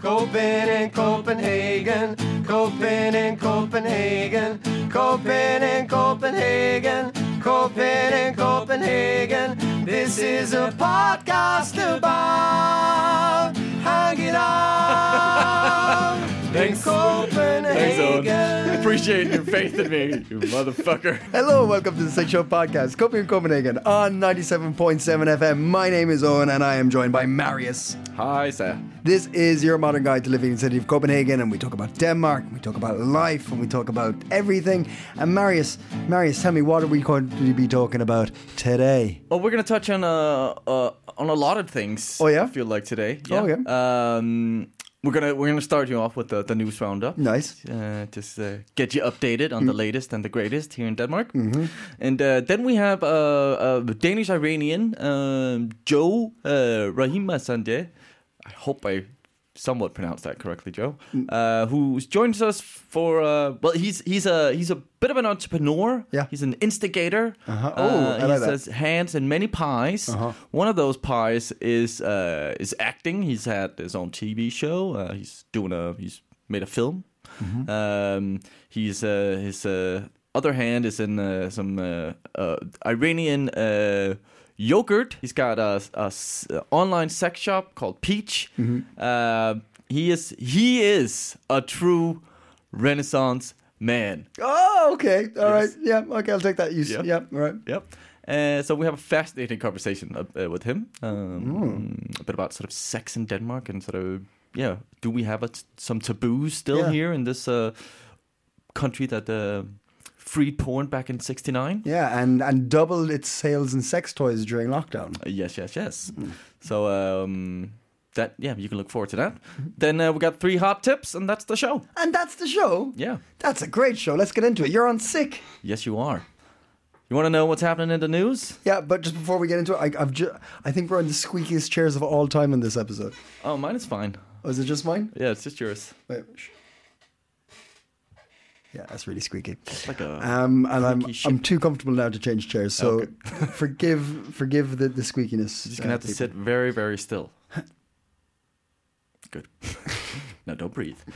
Coping in Copenhagen, coping in Copenhagen, coping in Copenhagen, coping in Copenhagen. This is a podcast about hanging out in Thanks. Thanks, Owen. Copenhagen. Appreciate your faith in me, you motherfucker. Hello and welcome to the Sex Show Podcast, Coping in Copenhagen on 97.7 FM. My name is Owen and I am joined by Marius. Hi, sir. This is your modern guide to living in the city of Copenhagen, and we talk about Denmark, we talk about life, and we talk about everything. And Marius, Marius, tell me, what are we going to be talking about today? Well, we're gonna touch on uh, uh on a lot of things. Oh, yeah? I feel like today. Oh, yeah. Um, we're gonna we're gonna start you off with the, the news roundup. Nice. Mm. Uh, just uh, get you updated on the latest and the greatest here in Denmark. Mm-hmm. And uh, then we have uh, a Danish Iranian um, Joe uh, Rahima Sandeh. I hope I somewhat pronounced that correctly, Joe. Mm. Uh, who joins us for uh, well, he's he's a he's a bit of an entrepreneur. Yeah. he's an instigator. Uh-huh. Oh, I Uh, he like that. Uh-huh. says hands and many pies. One of those pies is uh, is acting. He's had his own TV show. Uh, he's doing a he's made a film. Mm-hmm. Um, he's uh, his uh, other hand is in uh, some uh, uh, Iranian uh, yogurt. He's got a, a s- uh, online sex shop called Peach. Mm-hmm. Uh, he is he is a true Renaissance man. Oh, okay. all right, Yes. Yeah, okay, I'll take that. You, yeah. Yeah. all right. Yep. Uh, so we have a fascinating conversation uh, uh, with him, um, Hmm. a bit about sort of sex in Denmark and sort of yeah, do we have a t- some taboos still Yeah. here in this uh, country that uh, freed porn back in '69? Yeah, and, and doubled its sales in sex toys during lockdown. Uh, Yes, yes, yes. Hmm. So um, that yeah, you can look forward to that. Mm-hmm. Then uh, we got three hot tips, and that's the show. And that's the show. Yeah. That's a great show. Let's get into it. You're on sick. Yes, you are. You want to know what's happening in the news? Yeah, but just before we get into it, I, I've ju- I think we're in the squeakiest chairs of all time in this episode. Oh, mine is fine. Oh, is it just mine? Yeah, it's just yours. Wait. sh- Yeah, that's really squeaky. Like a Um, and I'm Uh, squeaky I'm too comfortable now to change chairs, so forgive forgive the, the squeakiness. uh, Just gonna have to sit very, very still. Good. no, don't breathe.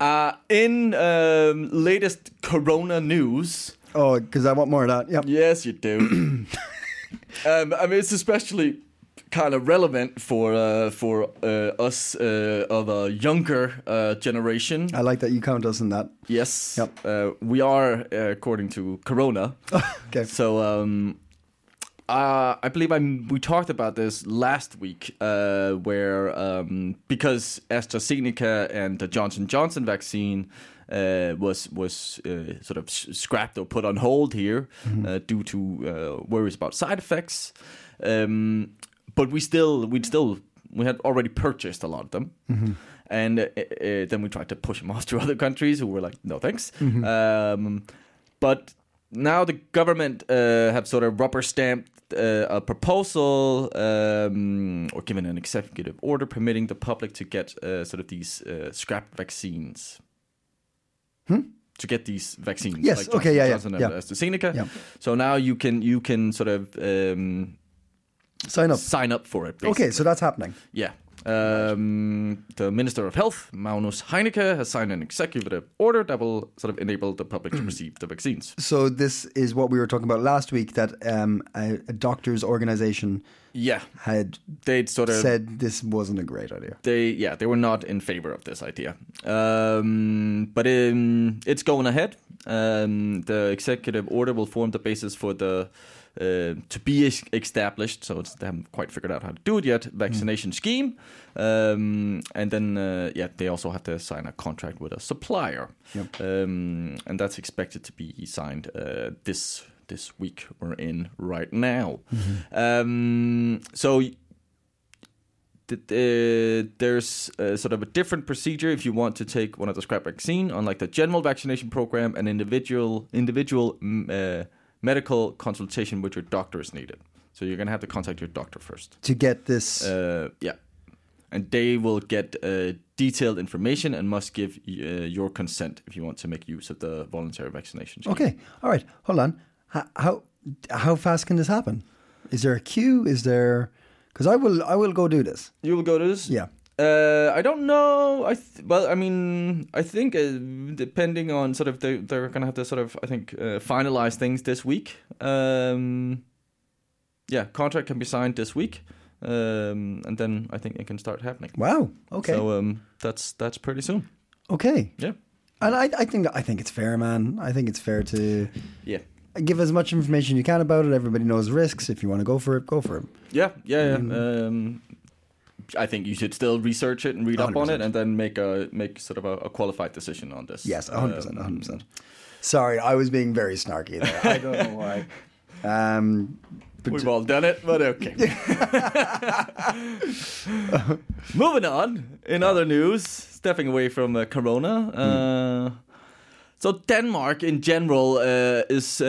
Uh, in um, latest Corona news, Oh, because I want more of that. Yep. yes, you do. um, I mean, it's especially kind of relevant for uh, for uh, us uh, of a younger uh, generation. I like that you count us in that. Yes, Yep. uh, we are uh, according to Corona. Okay. So um, uh, I believe I we talked about this last week, uh, where um, because AstraZeneca and the Johnson Johnson vaccine uh, was was uh, sort of s- scrapped or put on hold here uh, due to uh, worries about side effects. Um, but we still we still we had already purchased a lot of them. And uh, uh, then we tried to push them off to other countries who were like, no thanks. Um, but now the government uh, have sort of rubber stamped uh, a proposal um, or given an executive order permitting the public to get uh, sort of these uh, scrap vaccines. To get these vaccines, Hmm? Yes, Johnson okay, yeah, yeah, Johnson and yeah. AstraZeneca. Yeah. So now you can you can sort of um, Sign up. sign up for it. Basically. Okay, so that's happening. Yeah. Um, the Minister of Health, Magnus Heineke, has signed an executive order that will sort of enable the public to receive the vaccines. So this is what we were talking about last week. That um, a, a doctor's organization Yeah, had they sort of said this wasn't a great idea. they yeah they were not in favor of this idea. Um, but um, it's going ahead. Um, the executive order will form the basis for the uh, to be es- established. So it's, they haven't quite figured out how to do it yet. Vaccination scheme, um, and then uh, yeah they also have to sign a contract with a supplier, um, and that's expected to be signed uh, this. This week we're in right now, um, so th- uh, there's uh, sort of a different procedure if you want to take one of the scrap vaccine, unlike the general vaccination program, an individual individual mm, uh, medical consultation with your doctor is needed. So you're gonna have to contact your doctor first. to get this. Uh, yeah, and they will get uh, detailed information and must give uh, your consent if you want to make use of the voluntary vaccination. scheme. okay, all right, hold on. How how, how fast can this happen? Is there a queue? Is there? Because I will I will go do this. You will go to this? Yeah. Uh, I don't know. I th- well, I mean, I think uh, depending on sort of they they're gonna have to sort of I think uh, finalize things this week. Um, yeah, contract can be signed this week, um, and then I think it can start happening. Wow. Okay. So um, that's that's pretty soon. okay. Yeah. And I, I think I think it's fair, man. I think it's fair to Yeah. give as much information you can about it. Everybody knows risks. If you want to go for it, go for it. Yeah. Yeah. yeah. Mm. Um, I think you should still research it and read up on it, 100%. and then make a make sort of a, a qualified decision on this. Yes, hundred percent, Um, hundred percent. Sorry, I was being very snarky there. I don't know why. Um, but We've all done it, but okay. Moving on. In other news, stepping away from uh, Corona. Uh, So Denmark in general uh, is uh,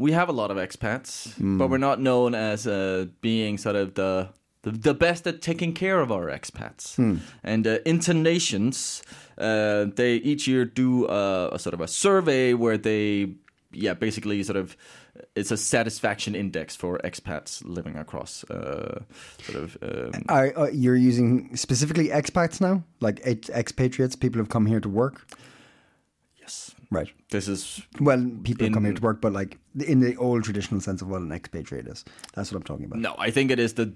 we have a lot of expats, but we're not known as uh, being sort of the the, the best at taking care of our expats. And uh, Internations, uh, they each year do uh, a sort of a survey where they yeah, basically sort of it's a satisfaction index for expats living across uh, sort of um, are, uh, you're using specifically expats now, like ex- expatriates, people who've come here to work, yes. right? This is Well, people who come here In- to work, but like in the old traditional sense of what an expatriate is. That's what I'm talking about. no, I think it is the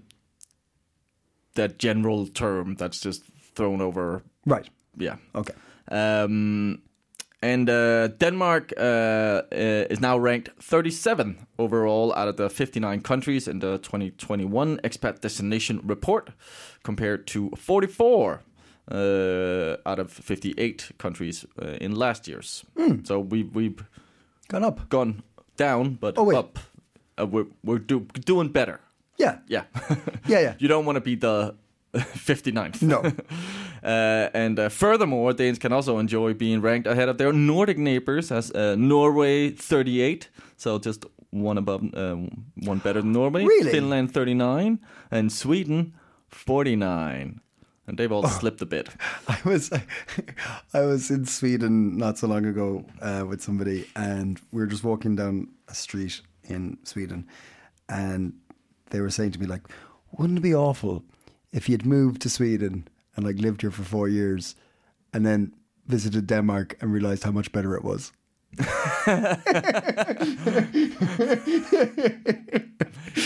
that general term that's just thrown over. Right. Yeah. Okay. Um, and uh, Denmark uh, uh, is now ranked 37 overall out of the 59 countries in the 2021 expat destination report, compared to 44 uh, out of 58 countries uh, in last year's. Hmm. So we we've Gone up. gone down, but Oh, wait. up. Uh, we're we're do, doing better. Yeah. Yeah, Yeah. Yeah. you don't want to be the 59th. No. Uh, and uh, furthermore, Danes can also enjoy being ranked ahead of their Nordic neighbors, as uh, Norway 38, so just one above, uh, one better than Norway. Really? Finland 39, and Sweden 49. And they've all Oh. slipped a bit. I was I was in Sweden not so long ago uh, with somebody, and we were just walking down a street in Sweden, and they were saying to me like, "Wouldn't it be awful if you'd moved to Sweden and like lived here for four years, and then visited Denmark and realized how much better it was?"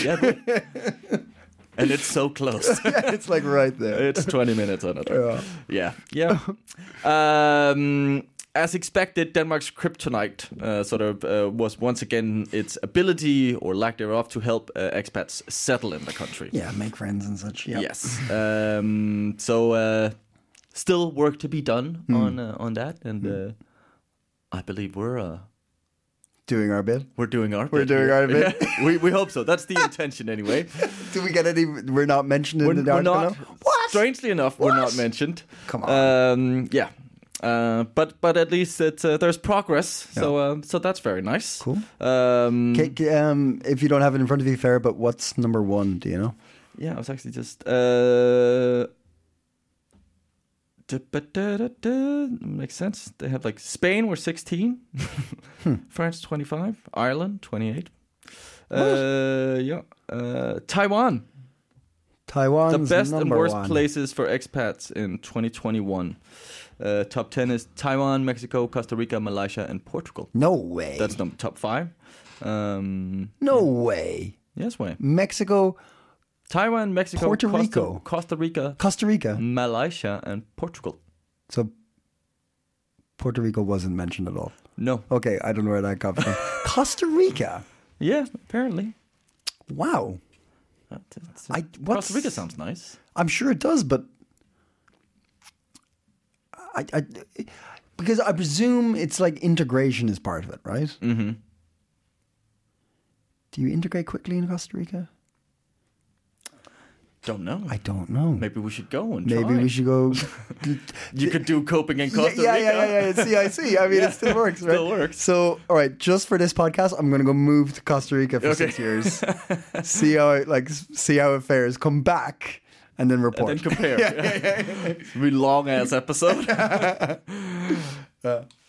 Yeah, they- and it's so close. it's like right there. it's 20 minutes on it. Yeah. Yeah. um, as expected, Denmark's kryptonite uh, sort of uh, was once again its ability or lack thereof to help uh, expats settle in the country. Yeah, make friends and such. Yeah. Yes. Um, so uh, still work to be done Hmm. on uh, on that, and uh, I believe we're uh, Doing our bit. we're doing our We're bit. doing our bit. Yeah. we we hope so. That's the intention anyway. Do we get any? We're not mentioned in We're, the we're article. not. now? What? Strangely enough, we're not What? mentioned. Come on. Um, yeah. Uh, but but at least it, uh, there's progress, so um, so that's very nice. Cool. Um, K- k- um, if you don't have it in front of you, fair. But what's number one? Do you know? Yeah, I was actually just. Uh, da-ba-da-da-da. Makes sense. They have like Spain were 16, Hmm. France 25, Ireland 28. Uh, yeah, uh, Taiwan Taiwan. the best and worst places for expats in 2021. Uh, top 10 is Taiwan, Mexico, Costa Rica, Malaysia, and Portugal. No way. That's number top five. Um, no way. yes, way. Mexico, Taiwan, Mexico, Puerto Costa, Rico. Costa Rica, Costa Rica. Mm. Malaysia, and Portugal. So Puerto Rico wasn't mentioned at all. No. Okay, I don't know where that comes from. Costa Rica. Yeah, apparently. Wow. That's- that's- I- what's- Costa Rica sounds nice. I'm sure it does, but I, I because I presume it's like integration is part of it, right? Mm-hmm. Do you integrate quickly in Costa Rica? Don't know. I don't know. Maybe we should go and Maybe try. we should go. You could do coping in yeah, Costa yeah, yeah, Rica. yeah, yeah. See, I see. I mean, Yeah. it still works, right? Still works. So, all right, just for this podcast, I'm gonna go move to Costa Rica for Okay. six years. see how it, like s- see how it fares. Come back and then report. Then compare. Really long ass episode.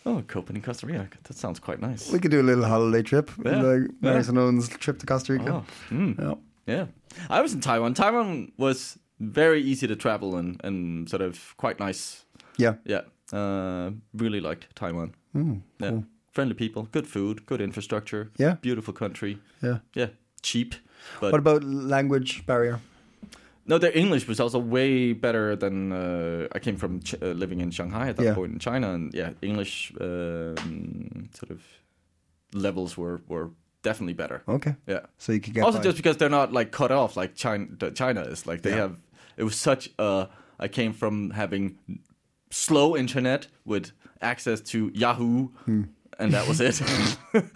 oh, Copenhagen, Costa Rica. That sounds quite nice. Uh, we could do a little holiday trip, Yeah, like yeah. Marius and Owen's trip to Costa Rica. Oh, mm. Yeah. Yeah, I was in Taiwan. Taiwan was very easy to travel and and sort of quite nice. yeah, Hmm, Yeah, uh, really liked Taiwan. yeah, friendly people, good food, good infrastructure. Yeah. beautiful country. yeah. Yeah, cheap. But What about language barrier? no, their English was also way better than uh, I came from Ch- uh, living in Shanghai at that Yeah. point in China, and yeah, English um, sort of levels were were definitely better. Okay, Yeah. Oh. so you could get also by. just because they're not like cut off like China, China is like they Yeah. have it was such a I came from having slow internet with access to Yahoo Hmm. and that was it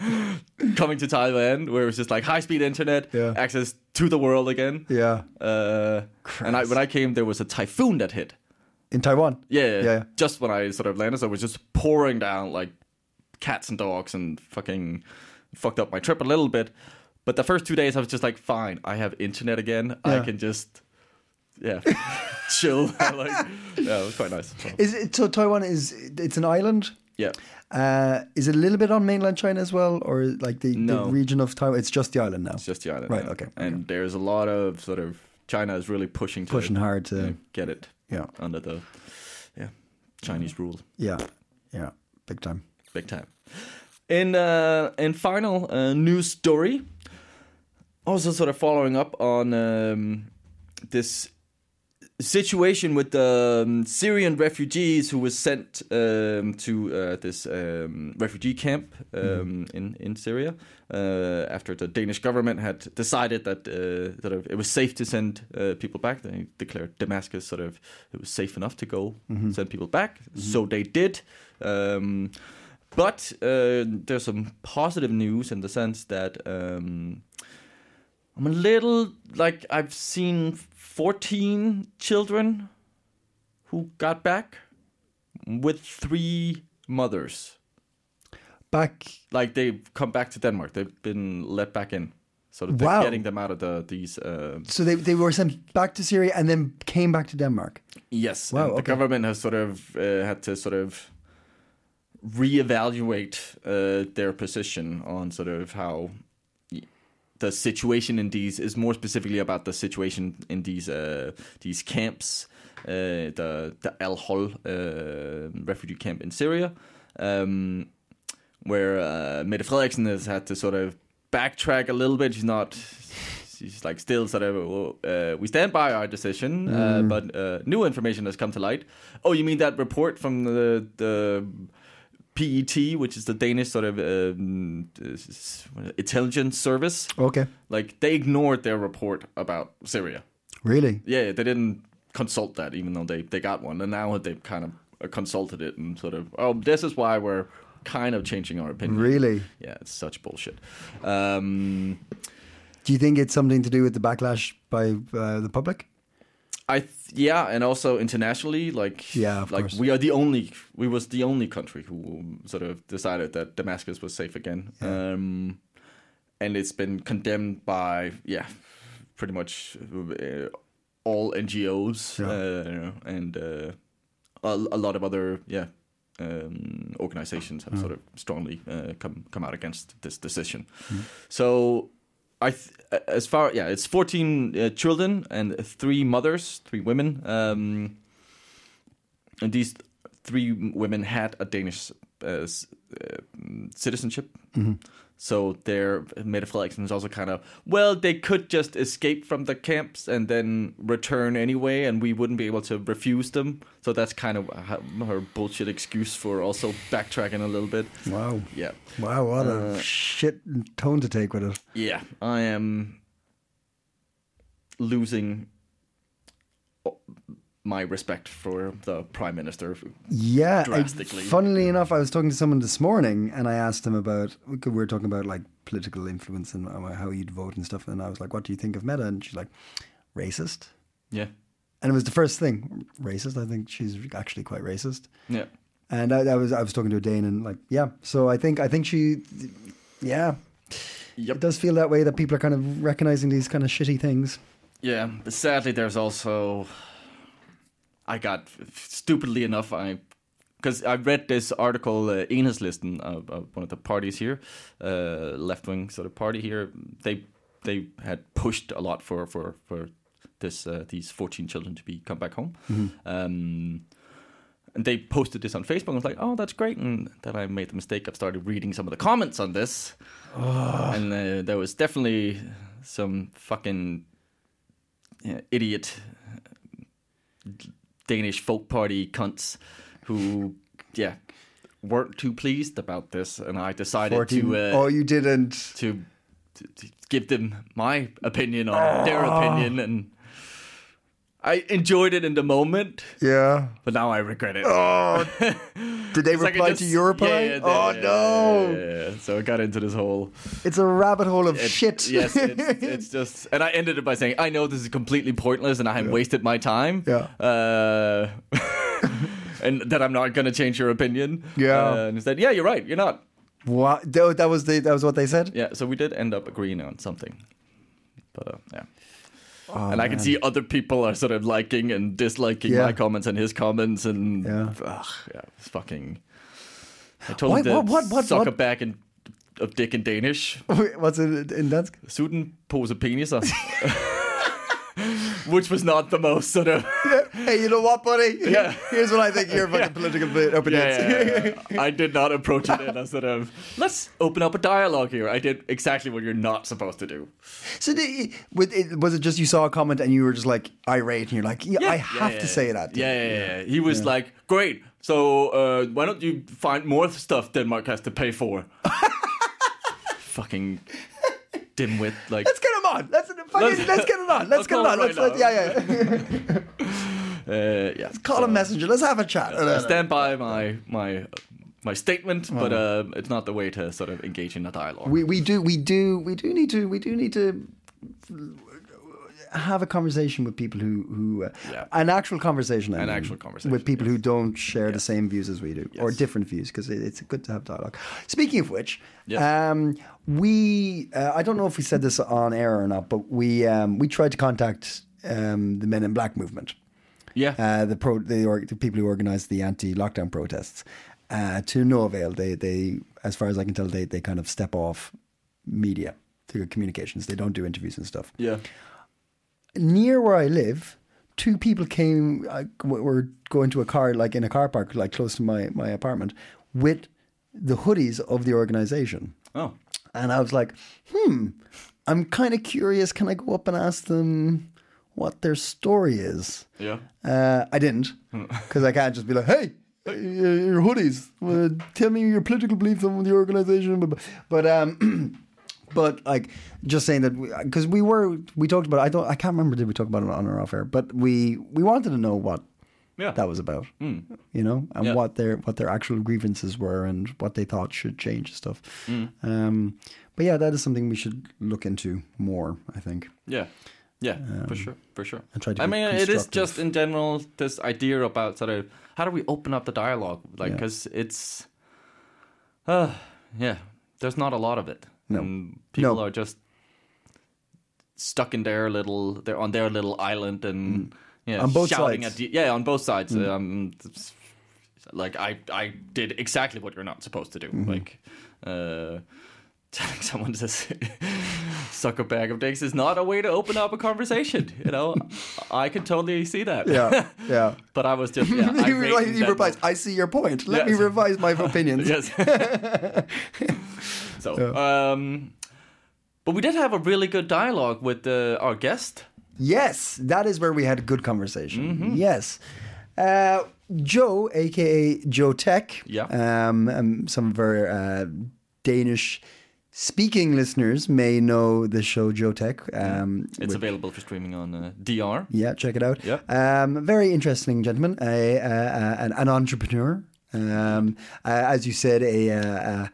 coming to Taiwan where it was just like high speed internet Yeah. access to the world again yeah uh, and I, when I came there was a typhoon that hit in Taiwan. yeah, Yeah. Just when I sort of landed, so it was just pouring down like cats and dogs and fucking fucked up my trip a little bit. But the first two days, I was just like, fine, I have internet again. I Yeah. can just, yeah, chill. like, yeah, it was quite nice. So, Is it so? Taiwan is it's an island. yeah. Uh, is it a little bit on mainland China as well, or like the, No. the region of Taiwan? It's just the island now. It's just the island. Right, yeah. okay, And there's a lot of sort of, China is really pushing to Pushing hard to you know, get it yeah, under the yeah Chinese rule. yeah, yeah, big time. big time. In uh, in final uh, news story, also sort of following up on um, this situation with the um, Syrian refugees who was sent um, to uh, this um, refugee camp um, in in Syria uh, after the Danish government had decided that uh, sort of it was safe to send uh, people back. They declared Damascus sort of it was safe enough to go send people back, so they did. Um, but uh, there's some positive news in the sense that um, I'm a little like I've seen 14 children who got back with three mothers. Back, Like they've come back to Denmark. They've been let back in. So that they're Wow. getting them out of the these uh, so they they were sent back to Syria and then came back to Denmark. Yes, Wow, and the okay. government has sort of uh, had to sort of reevaluate uh, their position on sort of how y- the situation in these is more specifically about the situation in these uh, these camps, uh, the the Al Hol uh, refugee camp in Syria, um, where uh, Mette Frederiksen has had to sort of backtrack a little bit. She's not. She's like still sort of. Uh, we stand by our decision, uh, but uh, new information has come to light. Oh, you mean that report from the the PET, which is the Danish sort of um, s- intelligence service? Okay, Like they ignored their report about Syria. really? Yeah, they didn't consult that, even though they, they got one, and now they've kind of uh, consulted it and sort of, oh, this is why we're kind of changing our opinion. Really? Yeah, it's such bullshit. Um, Do you think it's something to do with the backlash by uh, the public? I th- yeah, and also internationally, like Yeah, of like course. we are the only we was the only country who sort of decided that Damascus was safe again, um, and it's been condemned by yeah, pretty much uh, all NGOs Yeah. uh, and uh, a, a lot of other yeah um, organizations have sort of strongly uh, come come out against this decision. So I th- as far yeah, it's 14 uh, children and three mothers, three women. Um, and these three women had a Danish uh, s- uh, citizenship. So their Mette Frederiksen is also kind of well, they could just escape from the camps and then return anyway, and we wouldn't be able to refuse them. So that's kind of her- her bullshit excuse for also backtracking a little bit. Wow, Yeah, wow, what a Uh, shit tone to take with it. yeah, I am losing my respect for the prime minister. Yeah, I- drastically. funnily enough, I was talking to someone this morning, and I asked him about we were talking about like political influence and how you'd vote and stuff. And I was like, "What do you think of Meta?" And she's like, "Racist." Yeah. and it was the first thing racist. I think she's actually quite racist. Yeah. And I, I was I was talking to a Dane and like yeah. So I think I think she, yeah, Yep. it does feel that way that people are kind of recognizing these kind of shitty things. Yeah, but sadly, there's also. I got stupidly enough, I because I read this article, uh, Enes Listen, uh, uh, one of the parties here, uh, left wing sort of party here. They they had pushed a lot for for for this uh, these 14 children to be come back home. Um, and they posted this on Facebook. I was like, "Oh, that's great!" And then I made the mistake. I've started reading some of the comments on this, and uh, there was definitely some fucking yeah, idiot Danish folk party cunts who, yeah, weren't too pleased about this, and I decided Fourteen. to uh, oh, you didn't. to, to to give them my opinion on their opinion, and I enjoyed it in the moment, Yeah. but now I regret it. Oh, did they It's like I reply just- to your reply? yeah, yeah, oh yeah, no, yeah, yeah, yeah. So I got into this whole it's a rabbit hole of it- shit. yes, it's, it's just, and I ended it by saying, I know this is completely pointless, and I have wasted my time. Yeah. Uh, and that I'm not going to change your opinion. Yeah. Uh, and instead, yeah, you're right. You're not. what? Tho- That was the that was what they said. Yeah. So we did end up agreeing on something, but uh, yeah. Oh, and I can see other people are sort of liking and disliking Yeah. my comments and his comments, and Yeah. ugh, yeah, it's fucking. I told Why- him to what- what- what- suck what- a bag in, of dick in Danish. What's it in Dansk? Suden pose peniser. Which was not the most sort of. Hey, you know what, buddy? Yeah. Here's what I think your fucking political opinions. Yeah, yeah, yeah. I did not approach it in a sort of. Let's open up a dialogue here. I did exactly what you're not supposed to do. So did, with it, was it just you saw a comment and you were just like irate and you're like, yeah, I have to say that. Yeah, yeah, yeah, yeah. He was like, "Great. So uh, why don't you find more stuff Denmark has to pay for?" Fucking dimwit. Like, Let's get him on. Let's fucking, let's, Let's- get it on. Let's, let's get it call on. him Let's, let, right yeah, yeah. uh, yeah. Call a messenger. Let's have a chat. I stand by my my my statement, but uh, it's not the way to sort of engage in a dialogue. Uh-huh. we we do we do we do need to we do need to have a conversation with people who who uh, Yeah. an actual conversation I An mean, actual conversation, with people who don't share the same views as we do or different views because it, it's good to have dialogue speaking of which Yes. um, we uh, I don't know if we said this on air or not but we um, we tried to contact um, the men in black movement yeah. uh, the pro the, or, the people who organised the anti-lockdown protests. Uh, to no avail. They they as far as I can tell, they they kind of step off media through communications. They don't do interviews and stuff. yeah. Near where I live, two people came. Uh, w- were going to a car like in a car park, like close to my my apartment, with the hoodies of the organisation. Oh. And I was like, hmm, I'm kind of curious. Can I go up and ask them what their story is? Yeah. Uh, I didn't because I can't just be like, hey, uh, your hoodies, uh, tell me your political beliefs on the organization. blah, blah." But um, but like just saying that because we, were we talked about it, I don't I can't remember did we talk about it on or off air, but we we wanted to know what Yeah. Mm. that was about, you know, and Yeah. what their what their actual grievances were and what they thought should change and stuff. Mm. Um, but yeah, that is something we should look into more. I think. Yeah. Yeah, for sure, for sure. and Um, try to I be mean, it is constructive. just in general this idea about sort of how do we open up the dialogue, like Yeah. because it's, uh, yeah, there's not a lot of it. No. and people No. are just stuck in their little, they're on their little island and yeah, Mm. On both sides. shouting Mm. at the, yeah, on both sides. Um, it's- like I, I did exactly what you're not supposed to do, Mm-hmm. like. Uh, telling someone to s- suck a bag of dicks is not a way to open up a conversation. You know, I can totally see that. Yeah, yeah. but I was just yeah. he, irate replies- in he that replies, moment. I see your point. Let Yes. me revise my opinions. Yes. so, um, but we did have a really good dialogue with uh, our guest. Yes, that is where we had a good conversation. Mm-hmm. Yes. Uh, Joe, aka Joe Tech, Yeah. um, um, some of our uh, Danish speaking listeners may know the show Joe Tech. Um, It's available for streaming on uh, DR. Yeah, check it out. Yep. Um, very interesting gentleman, a, uh, uh, an, an entrepreneur. Um, uh, as you said, a, uh, uh,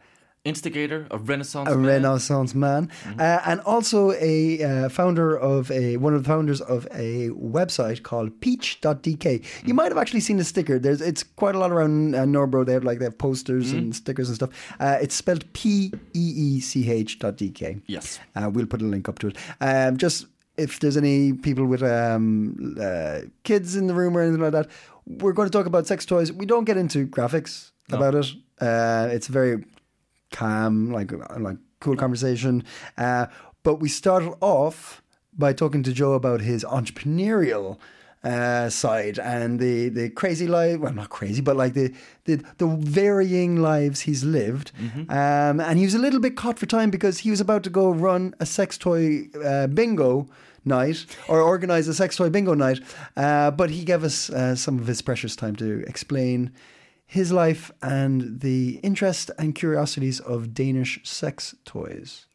instigator, a renaissance a man. Renaissance man, uh, and also a uh, founder of a one of the founders of a website called Peach.dk. You might have actually seen a sticker. There's it's quite a lot around uh, Norbro. They have like they have posters and stickers and stuff. Uh, it's spelled P E E C H dot DK. Yes. uh, we'll put a link up to it. Um, just if there's any people with um, uh, kids in the room or anything like that, we're going to talk about sex toys. We don't get into graphics about it. Uh, it's very calm, like like cool conversation. Uh, but we started off by talking to Joe about his entrepreneurial uh, side and the the crazy life. Well, not crazy, but like the the, the varying lives he's lived. Um, and he was a little bit caught for time because he was about to go run a sex toy uh, bingo night or organize a sex toy bingo night. Uh, but he gave us uh, some of his precious time to explain his life and the interest and curiosities of Danish sex toys.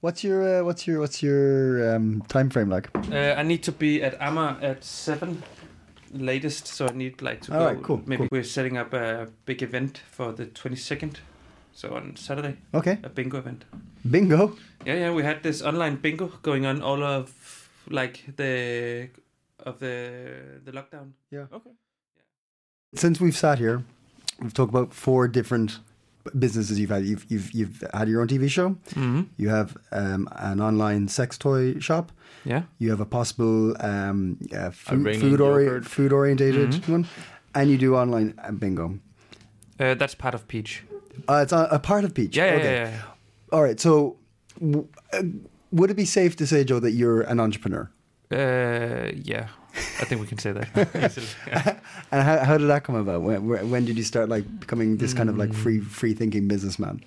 What's your uh, what's your what's your um, time frame like? Uh, I need to be at Amma at seven latest, so I need like to All go. right, cool, Maybe cool. we're setting up a big event for the twenty second, so on Saturday, Okay, a bingo event. bingo. Yeah, yeah, we had this online bingo going on all of like the of the the lockdown. Since we've sat here, we've talked about four different businesses you've had. You've you've, you've had your own TV show. Mm-hmm. You have um, an online sex toy shop. Yeah. You have a possible um, uh, food ring food, and ori- yogurt. food orientated Mm-hmm. one, and you do online uh, bingo. Uh, that's part of Peach. Uh, it's a, a part of Peach. Yeah, yeah, okay. yeah, yeah. All right. So, w- uh, would it be safe to say, Joe, that you're an entrepreneur? Uh, yeah, I think we can say that. easily. Yeah. And how, how did that come about? When, where- when did you start like becoming this kind of Mm. like free free thinking businessman?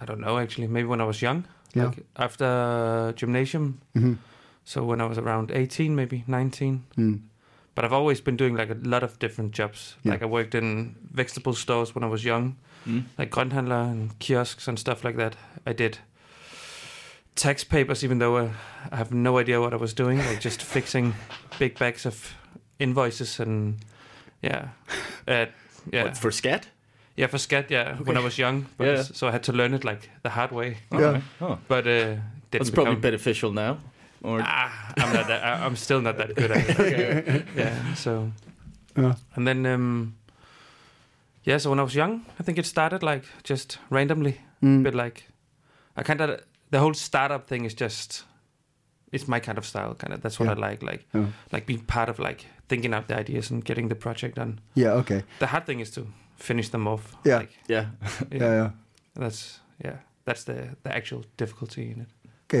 I don't know actually. Maybe when I was young, Yeah. like after gymnasium. Mhm. So when I was around eighteen, maybe nineteen. Mm. But I've always been doing like a lot of different jobs. Yeah. Like I worked in vegetable stores when I was young, Mm. like grønthandler and kiosks and stuff like that. I did tax papers, even though uh, I have no idea what I was doing. Like just fixing big bags of invoices and yeah, uh, yeah, What, for scat? yeah, for scat. Yeah, when I was young, but Yeah. so I had to learn it like the hard way. Yeah. Oh. But uh, didn't That's probably become- beneficial now. Or Ah, I'm not that. I- I'm still not that good at it. Yeah. So. Yeah. And then, um, yeah. So when I was young, I think it started like just randomly, Mm. but like, I kind of the whole startup thing is just, it's my kind of style. Kind of that's what Yeah. I like. Like, Yeah. like being part of like thinking out the ideas and getting the project done. Yeah. Okay. The hard thing is to finish them off. Yeah. Like, yeah, yeah. Yeah. yeah. That's yeah. That's the the actual difficulty in it. I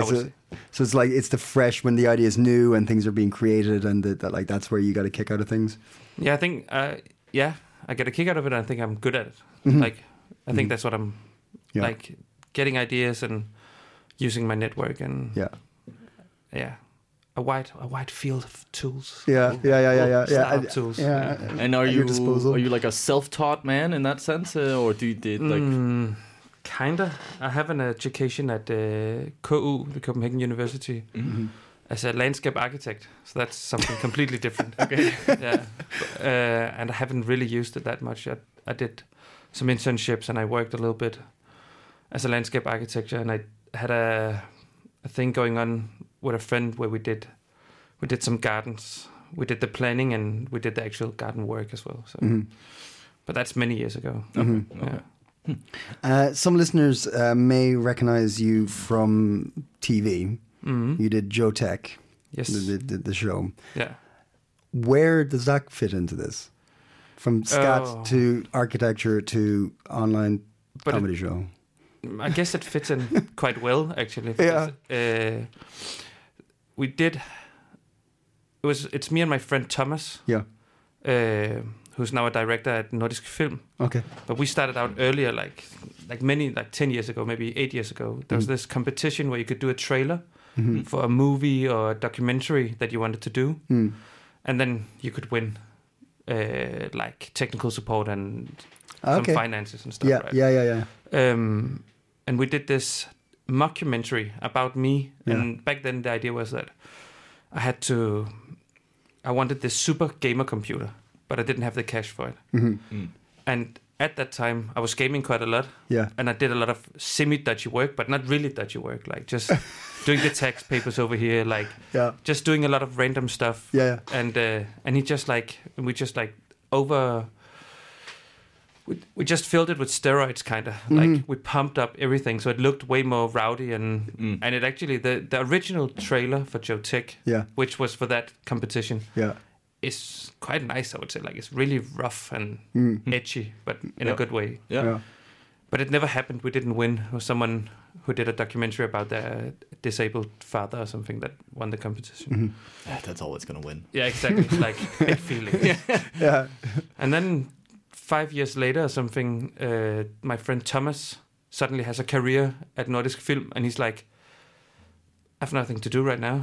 Okay. would So, say. so it's like it's the fresh when the idea is new and things are being created and that, that like that's where you got to kick out of things. Yeah, I think uh, yeah, I get a kick out of it. and I think I'm good at it. Like, I think that's what I'm Mm-hmm. Yeah. like getting ideas and using my network and Yeah. yeah, a wide a wide field of tools. Yeah. Yeah. Yeah. Yeah. Yeah. yeah. Startup I- tools. yeah. and are At your you disposal. are you like a self-taught man in that sense, uh, or do you did like Mm, kinda. I have an education at uh, KU, the Copenhagen University, as a landscape architect. So that's something completely different. okay. Yeah. Uh, and I haven't really used it that much. I, I did some internships and I worked a little bit as a landscape architecture, and I had a a thing going on with a friend where we did we did some gardens. We did the planning and we did the actual garden work as well. So, but that's many years ago. Yeah. Uh, some listeners uh, may recognize you from TV. You did Joe Tech, Mm-hmm. Yes. the, the, the show. Yeah. Where does that fit into this? From scat Oh. to architecture to online But it- comedy show. Mm, I guess it fits in quite well, actually. Yeah. because, uh, we did. It was. It's me and my friend Thomas, Yeah. uh, who's now a director at Nordisk Film. Okay. But we started out earlier, like like many, like ten years ago, maybe eight years ago. There was Mm. this competition where you could do a trailer Mm-hmm. for a movie or a documentary that you wanted to do, Mm. and then you could win, uh, like technical support and Okay. some finances and stuff. Yeah, right? yeah, yeah, yeah. um, and we did this mockumentary about me. Yeah. And back then, the idea was that I had to, I wanted this super gamer computer, but I didn't have the cash for it. Mhm. Mm. And at that time, I was gaming quite a lot, Yeah. and I did a lot of semi-dodgy work, but not really dodgy work, like just doing the tax papers over here, like Yeah. just doing a lot of random stuff. Yeah. yeah. And uh, and he just like and we just like over. We, we just filled it with steroids, kind of like we pumped up everything, so it looked way more rowdy and Mm. and it actually the the original trailer for Joe Tech, Yeah. which was for that competition, Yeah. is quite nice. I would say like it's really rough and Mm. edgy, but in a Yeah. good way. Yeah. Yeah. But it never happened. We didn't win. It was someone who did a documentary about their disabled father or something that won the competition. Mhm. Ah, That's always gonna win. Yeah, exactly. like big feelings. Yeah. And then five years later or something, uh, my friend Thomas suddenly has a career at Nordisk Film, and he's like, "I have nothing to do right now.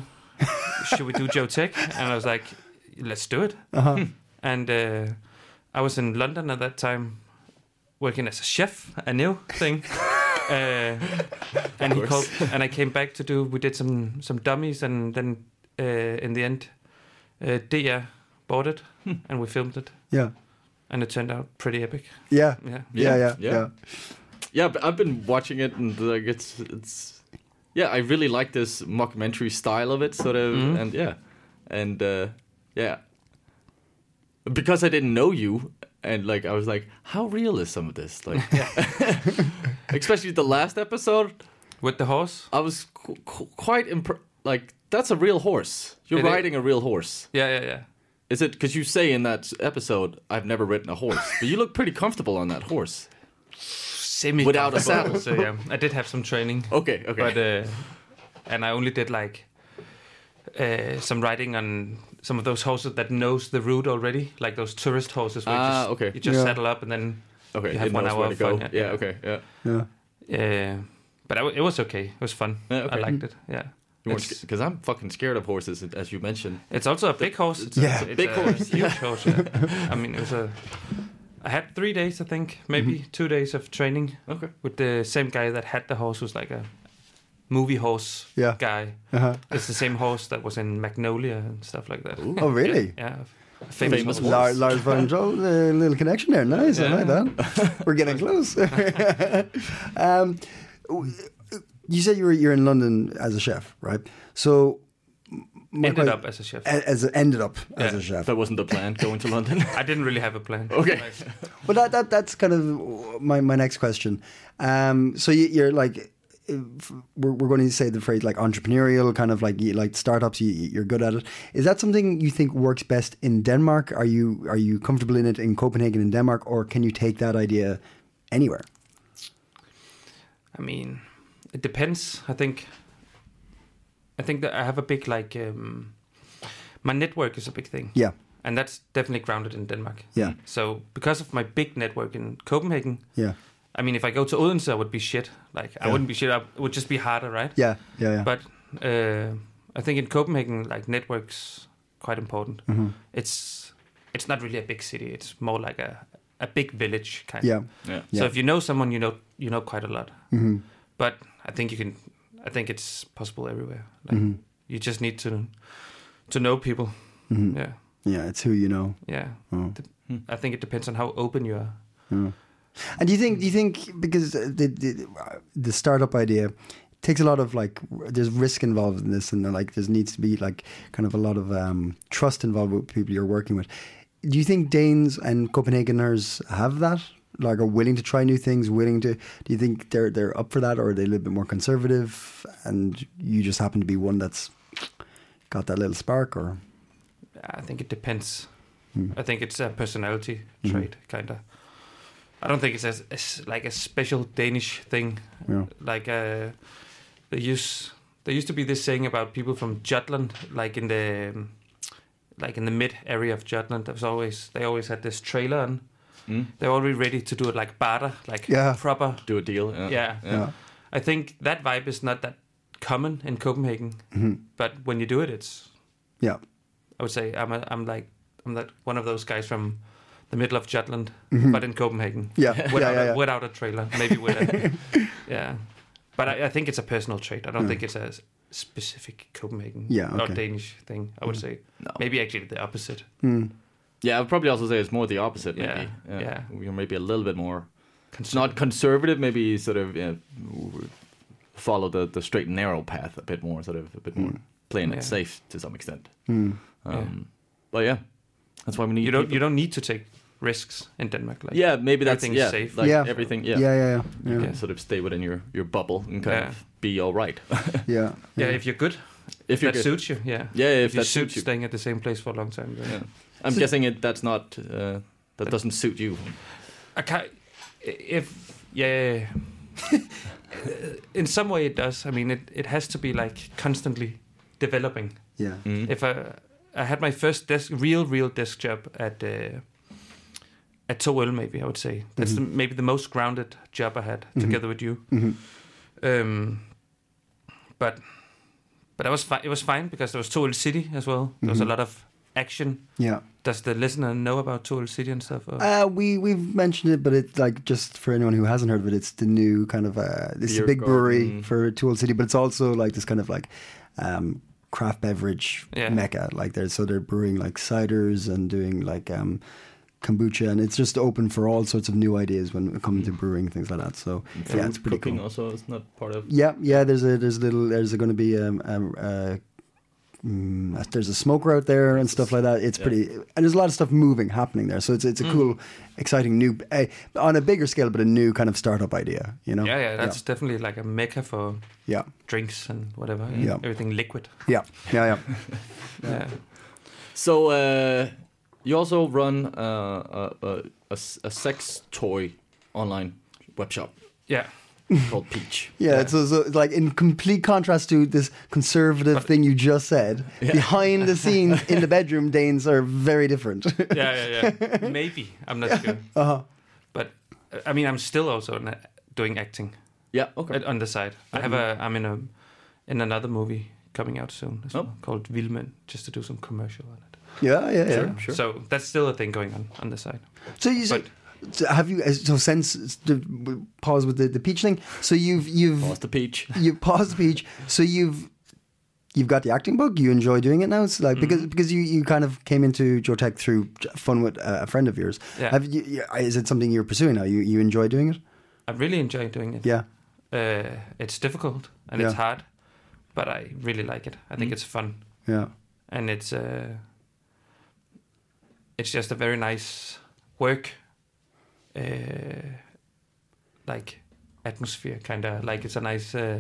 Should we do Joe Tech?" And I was like, "Let's do it." Uh-huh. And uh, I was in London at that time, working as a chef, a new thing. uh, and he called, and I came back to do. We did some some dummies, and then uh, in the end, uh, Dia bought it, and we filmed it, Yeah. and it turned out pretty epic. Yeah. Yeah, Yeah. Yeah. Yeah. Yeah. Yeah, but I've been watching it and like it's it's yeah, I really like this mockumentary style of it, sort of, Mhm. and yeah, and uh, yeah, because I didn't know you, and like I was like, how real is some of this? Like, especially the last episode, with the horse. I was qu- qu- quite impre- like that's a real horse. You're It is. riding a real horse. Yeah, yeah, yeah. Is it because you say in that episode, I've never ridden a horse, but you look pretty comfortable on that horse. Semi Without a saddle. So yeah, I did have some training, Okay, okay. but uh, and I only did like uh, some riding on some of those horses that knows the route already, like those tourist horses. Where you Ah, just, okay. You just Yeah. saddle up and then okay, you have it one knows hour where to of go. fun, yeah, yeah, yeah. okay, yeah. Yeah. Uh, but I w- it was okay. It was fun. Yeah, okay. I liked it. Yeah. It's, Because I'm fucking scared of horses, as you mentioned. it's also a big horse. It's Yeah. a, it's Big a horse, Huge yeah. horse. yeah. I mean, it was a. I had three days, I think, maybe Mm-hmm. two days of training Okay. with the same guy that had the horse. Was like a movie horse Yeah. guy. Uh-huh. It's the same horse that was in Magnolia and stuff like that. Oh, really? Yeah. a Famous, Famous horse. horse. Lars, Lars von Troll, a little connection there. Nice, I like that. We're getting close. um, w- you said you were you're in London as a chef, right? So my Ended que- up as a chef. a- as ended up as Yeah. a chef. That wasn't the plan, going to London. I didn't really have a plan. Oh. Okay. Like, Well, that, that that's kind of my, my next question. Um, so you, you're like, if we're, we're going to say the phrase like entrepreneurial, kind of like you like startups. You, you're good at it. Is that something you think works best in Denmark? Are you are you comfortable in it in Copenhagen in Denmark, or can you take that idea anywhere? I mean, it depends. I think. I think that I have a big like. Um, my network is a big thing, Yeah, and that's definitely grounded in Denmark. yeah, So because of my big network in Copenhagen, yeah, I mean, if I go to Odense, I would be shit. Like I Yeah. wouldn't be shit. I, it would just be harder, right? yeah, yeah, yeah. But uh, I think in Copenhagen, like networks, quite important. Mhm. It's it's not really a big city. It's more like a a big village kind. Yeah, yeah. So yeah. if you know someone, you know you know quite a lot hmm but I think you can. I think it's possible everywhere. Like, Mhm. You just need to to know people. hmm Yeah, yeah, it's who you know. yeah. Oh. I think it depends on how open you are. Yeah. And do you think? Do you think because the the, the startup idea takes a lot of like r- there's risk involved in this, and like there needs to be like kind of a lot of um, trust involved with people you're working with. Do you think Danes and Copenhageners have that? Like, are willing to try new things? Willing to? Do you think they're they're up for that, or are they a little bit more conservative? And you just happen to be one that's got that little spark, or I think it depends. Hmm. I think it's a personality trait, kind of. I don't think it's as, as like a special Danish thing. Yeah. Like uh, they use there used to be this saying about people from Jutland, like in the um, like in the mid area of Jutland. There was always they always had this trailer on. Mm. They're already ready to do it like barter, like Yeah. proper. Do a deal. Yeah. Yeah. yeah, I think that vibe is not that common in Copenhagen, Mhm. but when you do it, it's yeah, I would say I'm a, I'm like I'm that one of those guys from the middle of Jutland, but in Copenhagen. Mm-hmm. Yeah. without, Yeah, yeah, yeah. A, without a trailer, maybe with a yeah. But I, I think it's a personal trait. I don't Yeah. think it's a s- specific Copenhagen Mm. Yeah, or okay. Danish thing. I would say No. maybe actually the opposite. Mm. Yeah, I'd probably also say it's more the opposite. Maybe. Yeah, yeah. We're maybe a little bit more. It's not conservative. Maybe sort of yeah, follow the the straight and narrow path a bit more. Sort of a bit more playing Mm. Yeah. it safe to some extent. Mm. Um, Yeah. But yeah, that's why we need. You don't people. you don't need to take risks in Denmark. Like yeah, maybe that's everything's yeah, safe. Like Yeah. everything. Yeah, Yeah. yeah, yeah. Yeah. Yeah, You can sort of stay within your, your bubble and kind Yeah. of be all right. yeah. yeah. If you're good, if you're that good. suits you. Yeah. Yeah, if, If, you that suits you. staying at the same place for a long time. Then. Yeah. I'm guessing it. That's not. Uh, that doesn't suit you. I can't, if yeah, in some way it does. I mean, it, it has to be like constantly developing. yeah. Mm. If I I had my first desk real real desk job at uh, at Toel, maybe I would say that's the, maybe the most grounded job I had together with you. Um, but but I was fi- it was fine because there was Toel City as well. There was a lot of action. yeah. Does the listener know about Toel City and stuff? or- Uh, we we've mentioned it, but it's like just for anyone who hasn't heard of it, it's the new kind of uh, this is a Beer big brewery garden. for Tool City, but it's also like this kind of like um, craft beverage Yeah. mecca. Like they're so they're brewing like ciders and doing like um, kombucha, and it's just open for all sorts of new ideas when it comes to brewing things like that. So yeah, it's pretty Hmm. Cooking cool. also is not part of. Yeah, yeah. There's a there's a little there's going to be um, um, uh, mm, there's a smoker out there and stuff like that. It's Yeah. pretty and there's a lot of stuff moving happening there. So it's Hmm. it's a cool, exciting new eh, on a bigger scale, but a new kind of startup idea. You know? Yeah, yeah, that's er definitely like a mecca for yeah, drinks and whatever. and Yeah. Everything liquid. yeah, yeah, yeah. Yeah. So uh, you also run uh, a, a- a s- a sex toy online web shop Yeah. called Peach. Yeah, it's so, so it's like in complete contrast to this conservative thing you just said. Behind the scenes in the bedroom, Danes are very different. Yeah, yeah, yeah. Maybe. I'm not sure. uh-huh. But uh, I mean, I'm still also n- doing acting Yeah. Okay. at- on the side. I have a, I'm in a, in another movie coming out soon as well, called Vilmen, just to do some commercial on it. Yeah, yeah, yeah. Yeah. So that's still a thing going on on the side. So you so, But- so have you so since the pause with the, the peach thing. So you've you've Lost Oh, the Peach. you paused peach. So you've you've got the acting book. You enjoy doing it now. It's like because Mm-hmm. because you, you kind of came into Joe Tech through j- fun with uh, a friend of yours. Yeah. Have you, you- is it something you're pursuing now? You you enjoy doing it? I really enjoy doing it. Yeah. Uh, it's difficult and Yeah. it's hard, but I really like it. I think it's fun. Yeah. and it's uh, it's just a very nice work uh, like atmosphere kind of like it's a nice uh,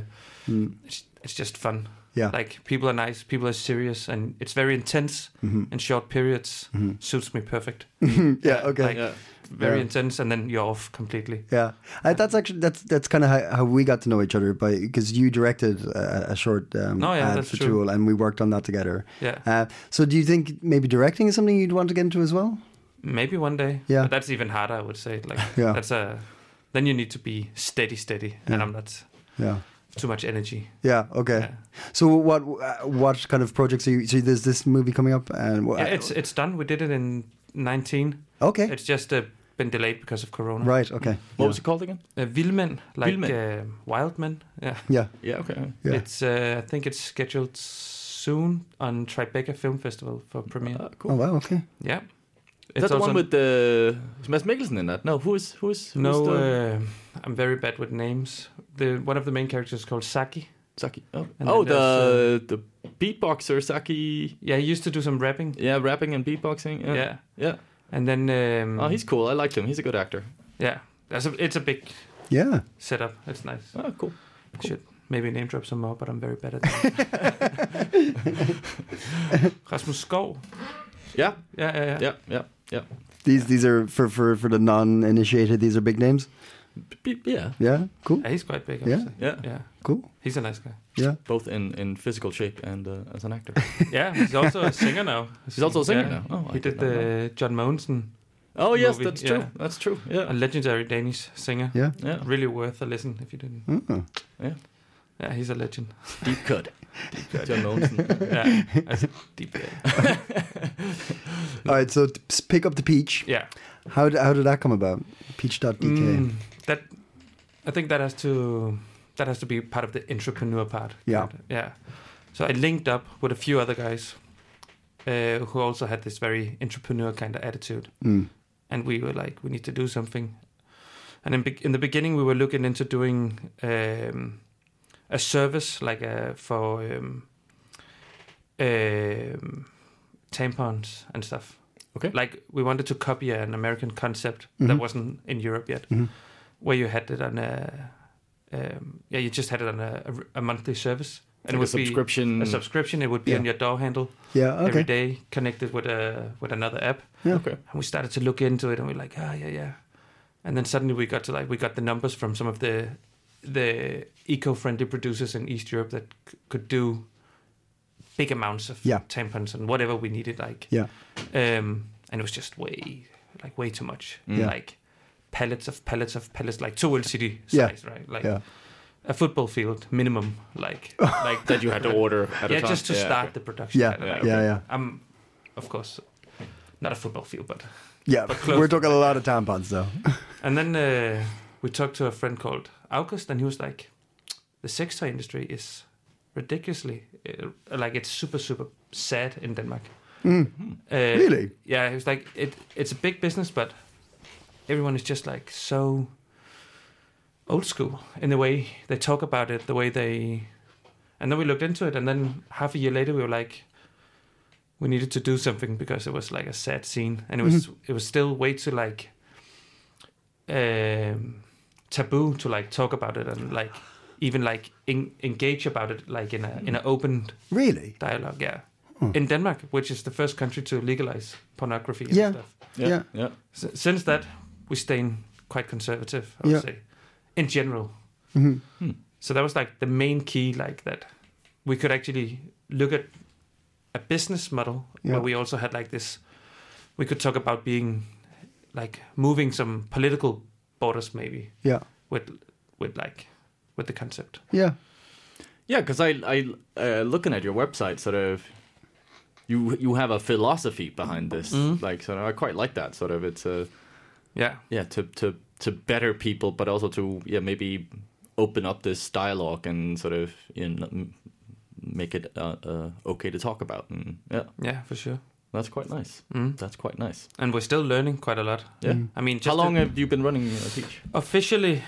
it's, it's just fun Mm. Yeah. like people are nice people are serious and it's very intense Mm-hmm. in short periods suits me perfect yeah. Mm-hmm. Okay. like, Yeah. very Yeah. intense and then you're off completely Yeah, Uh, that's actually that's that's kind of how, how we got to know each other, but because you directed a, a short um, Oh, yeah, ad that's for true. Tool, and we worked on that together. Yeah. Uh, so, do you think maybe directing is something you'd want to get into as well? maybe one day Yeah. but that's even harder i would say like Yeah. that's a then you need to be steady steady and i'm not Yeah. too much energy Yeah. Okay. Yeah. So, what uh, what kind of projects are you? So, there's this movie coming up, and what, Yeah, it's it's done. We did it in 19. okay. It's just uh, been delayed because of Corona. right. Okay. What was it called again? Uh, Vilmen, like Vildmænd. Uh, wild men. Yeah. Yeah. Yeah. Okay. Yeah. It's uh, I think it's scheduled soon on Tribeca Film Festival for premiere. Uh, cool. Oh wow. Okay. yeah. is that the one with the uh, Mads Mikkelsen in that? No. Who is who is who is no? the Uh, I'm very bad with names. The one of the main characters is called Saki. Saki? Oh, and oh then the the beatboxer Saki. Yeah, he used to do some rapping. Yeah, rapping and beatboxing. Yeah. Yeah. Yeah. And then um, Oh, he's cool. I liked him. He's a good actor. yeah. That's a, it's a big Yeah. setup. It's nice. Oh, cool. I should maybe name drop some more, but I'm very bad at that. Rasmus Skov. Yeah. Yeah, yeah, yeah. Yeah. Yeah. Yeah. These these are for for for the non-initiated. These are big names. B- yeah. Yeah. Cool. Yeah, he's quite big. Yeah? Obviously. Yeah. yeah. Cool. He's a nice guy. Yeah. Both in, in physical shape and uh, as an actor. Yeah, he's also a singer now. He's also a singer Yeah. now. Oh, I he did did not the John Monson, Oh yes, Movie, that's yeah. true. That's true. a Yeah. legendary Danish singer. Yeah. Yeah. Really worth a listen if you didn't. Mm. Yeah. Yeah, he's a legend. Deep cut. Deep cut. John Monsen. Yeah, that's a deep. All right. So, t- s- pick up the peach. Yeah, How did, how did that come about? Peach.dk. Mm, that I think that has to that has to be part of the entrepreneur part. Yeah. yeah. So I linked up with a few other guys uh, who also had this very entrepreneur kind of attitude. Mm. And we were like, we need to do something. And in, be- in the beginning, we were looking into doing um, a service like uh, for um, um, tampons and stuff. Okay. Like we wanted to copy an American concept that Mhm. wasn't in Europe yet, Mhm. where you had it on a um, yeah, you just had it on a, a r- a monthly service, Like a it would be- subscription. a subscription. It would be Yeah. on your door handle Yeah. every Okay. day, connected with a with another app. okay. And we started to look into it, and we're like, ah, yeah, yeah. And then suddenly we got to like we got the numbers from some of the the eco-friendly producers in East Europe that c- could do big amounts of Yeah. tampons and whatever we needed, like Yeah. Um, and it was just way like way too much, Mm. Yeah. like pallets of pallets of pallets, like two city Yeah. size, right? Like Yeah. a football field minimum, like like That you had to order at yeah, a time. just to Yeah, start okay. the production. Yeah. kind of Yeah. like- Yeah. I'm, of course, not a football field, but Yeah. But close. We're talking a lot of tampons though. and then uh, we talked to a friend called August, and he was like, "The sex toy industry is ridiculously uh, like it's super super sad in Denmark." Mm. Uh, Really? Yeah, he was like, "It it's a big business, but everyone is just like so old school in the way they talk about it, the way they." And then we looked into it, and then half a year later, we were like. We needed to do something because it was like a sad scene, and it was Mm-hmm. it was still way too like um, taboo to like talk about it and like even like en- engage about it like in a in Hmm. an open Really? dialogue. Yeah, Hmm. in Denmark, which is the first country to legalize pornography and Yeah. stuff. Yeah. Yeah. Yeah. S- since that, we staying quite conservative. I would Yeah. say, in general. Mhm. Hmm. So that was like the main key, like that we could actually look at a business model Yeah. where we also had like this. We could talk about being like moving some political borders, maybe Yeah. with with like with the concept. Yeah. Yeah, because I, I uh, looking at your website, sort of, you you have a philosophy behind this. Mm. Like, so I quite like that. Sort of, it's a Yeah, yeah to to to better people, but also to yeah maybe open up this dialogue and sort of you know, m- make it uh, uh, okay to talk about. And yeah, yeah, for sure. that's quite nice. Mm. That's quite nice. And we're still learning quite a lot. Yeah. I mean, Mm. just How long to- have you been running uh, Teach? officially?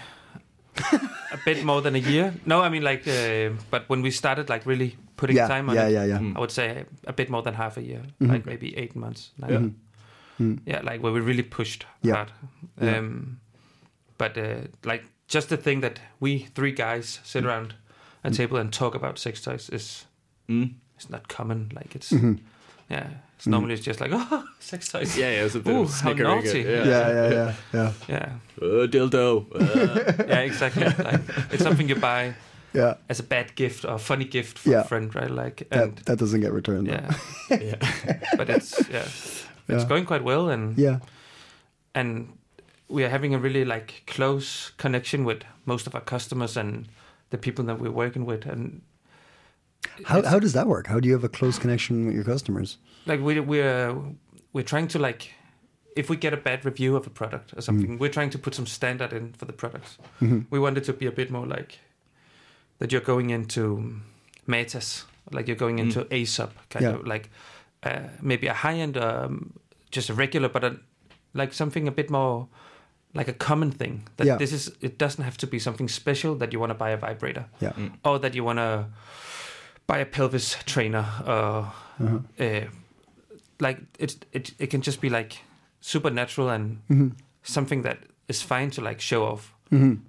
a bit more than a year. No, I mean like, uh, but when we started like really putting yeah. time on yeah, it, yeah. Yeah. Mm. I would say a bit more than half a year, Mhm. like maybe eight months. Nine Yeah. months. yeah, like where we really pushed Yeah. hard. Yeah. Um, But uh, like just the thing that we three guys sit around a table and talk about sex toys is Mm. it's not common. Like it's Mhm. yeah, it's normally Mm-hmm. it's just like oh sex toys. Yeah, yeah, it's a bit Ooh, of how snickering. naughty. Yeah. Yeah, Yeah. Yeah. Yeah. yeah, Uh, dildo. Uh. yeah, exactly. like it's something you buy Yeah. as a bad gift or a funny gift for Yeah. a friend, right? Like That, and that doesn't get returned. though. yeah, yeah. but it's yeah, it's Yeah. going quite well and Yeah. and we are having a really like close connection with most of our customers and the people that we're working with and How, it's- how does that work? How do you have a close connection with your customers? like we we're we're trying to like if we get a bad review of a product or Mm-hmm. something we're trying to put some standard in for the products we want it to be a bit more like that you're going into metas like you're going into a sub kind Mm. Yeah. of like uh, maybe a high end um, just a regular but a, like something a bit more like a common thing that Yeah. this is it doesn't have to be something special that you want to buy a vibrator Yeah. or that you want to buy a pelvis trainer or Uh-huh. uh, like it, it it can just be like supernatural and Mm-hmm. something that is fine to like show off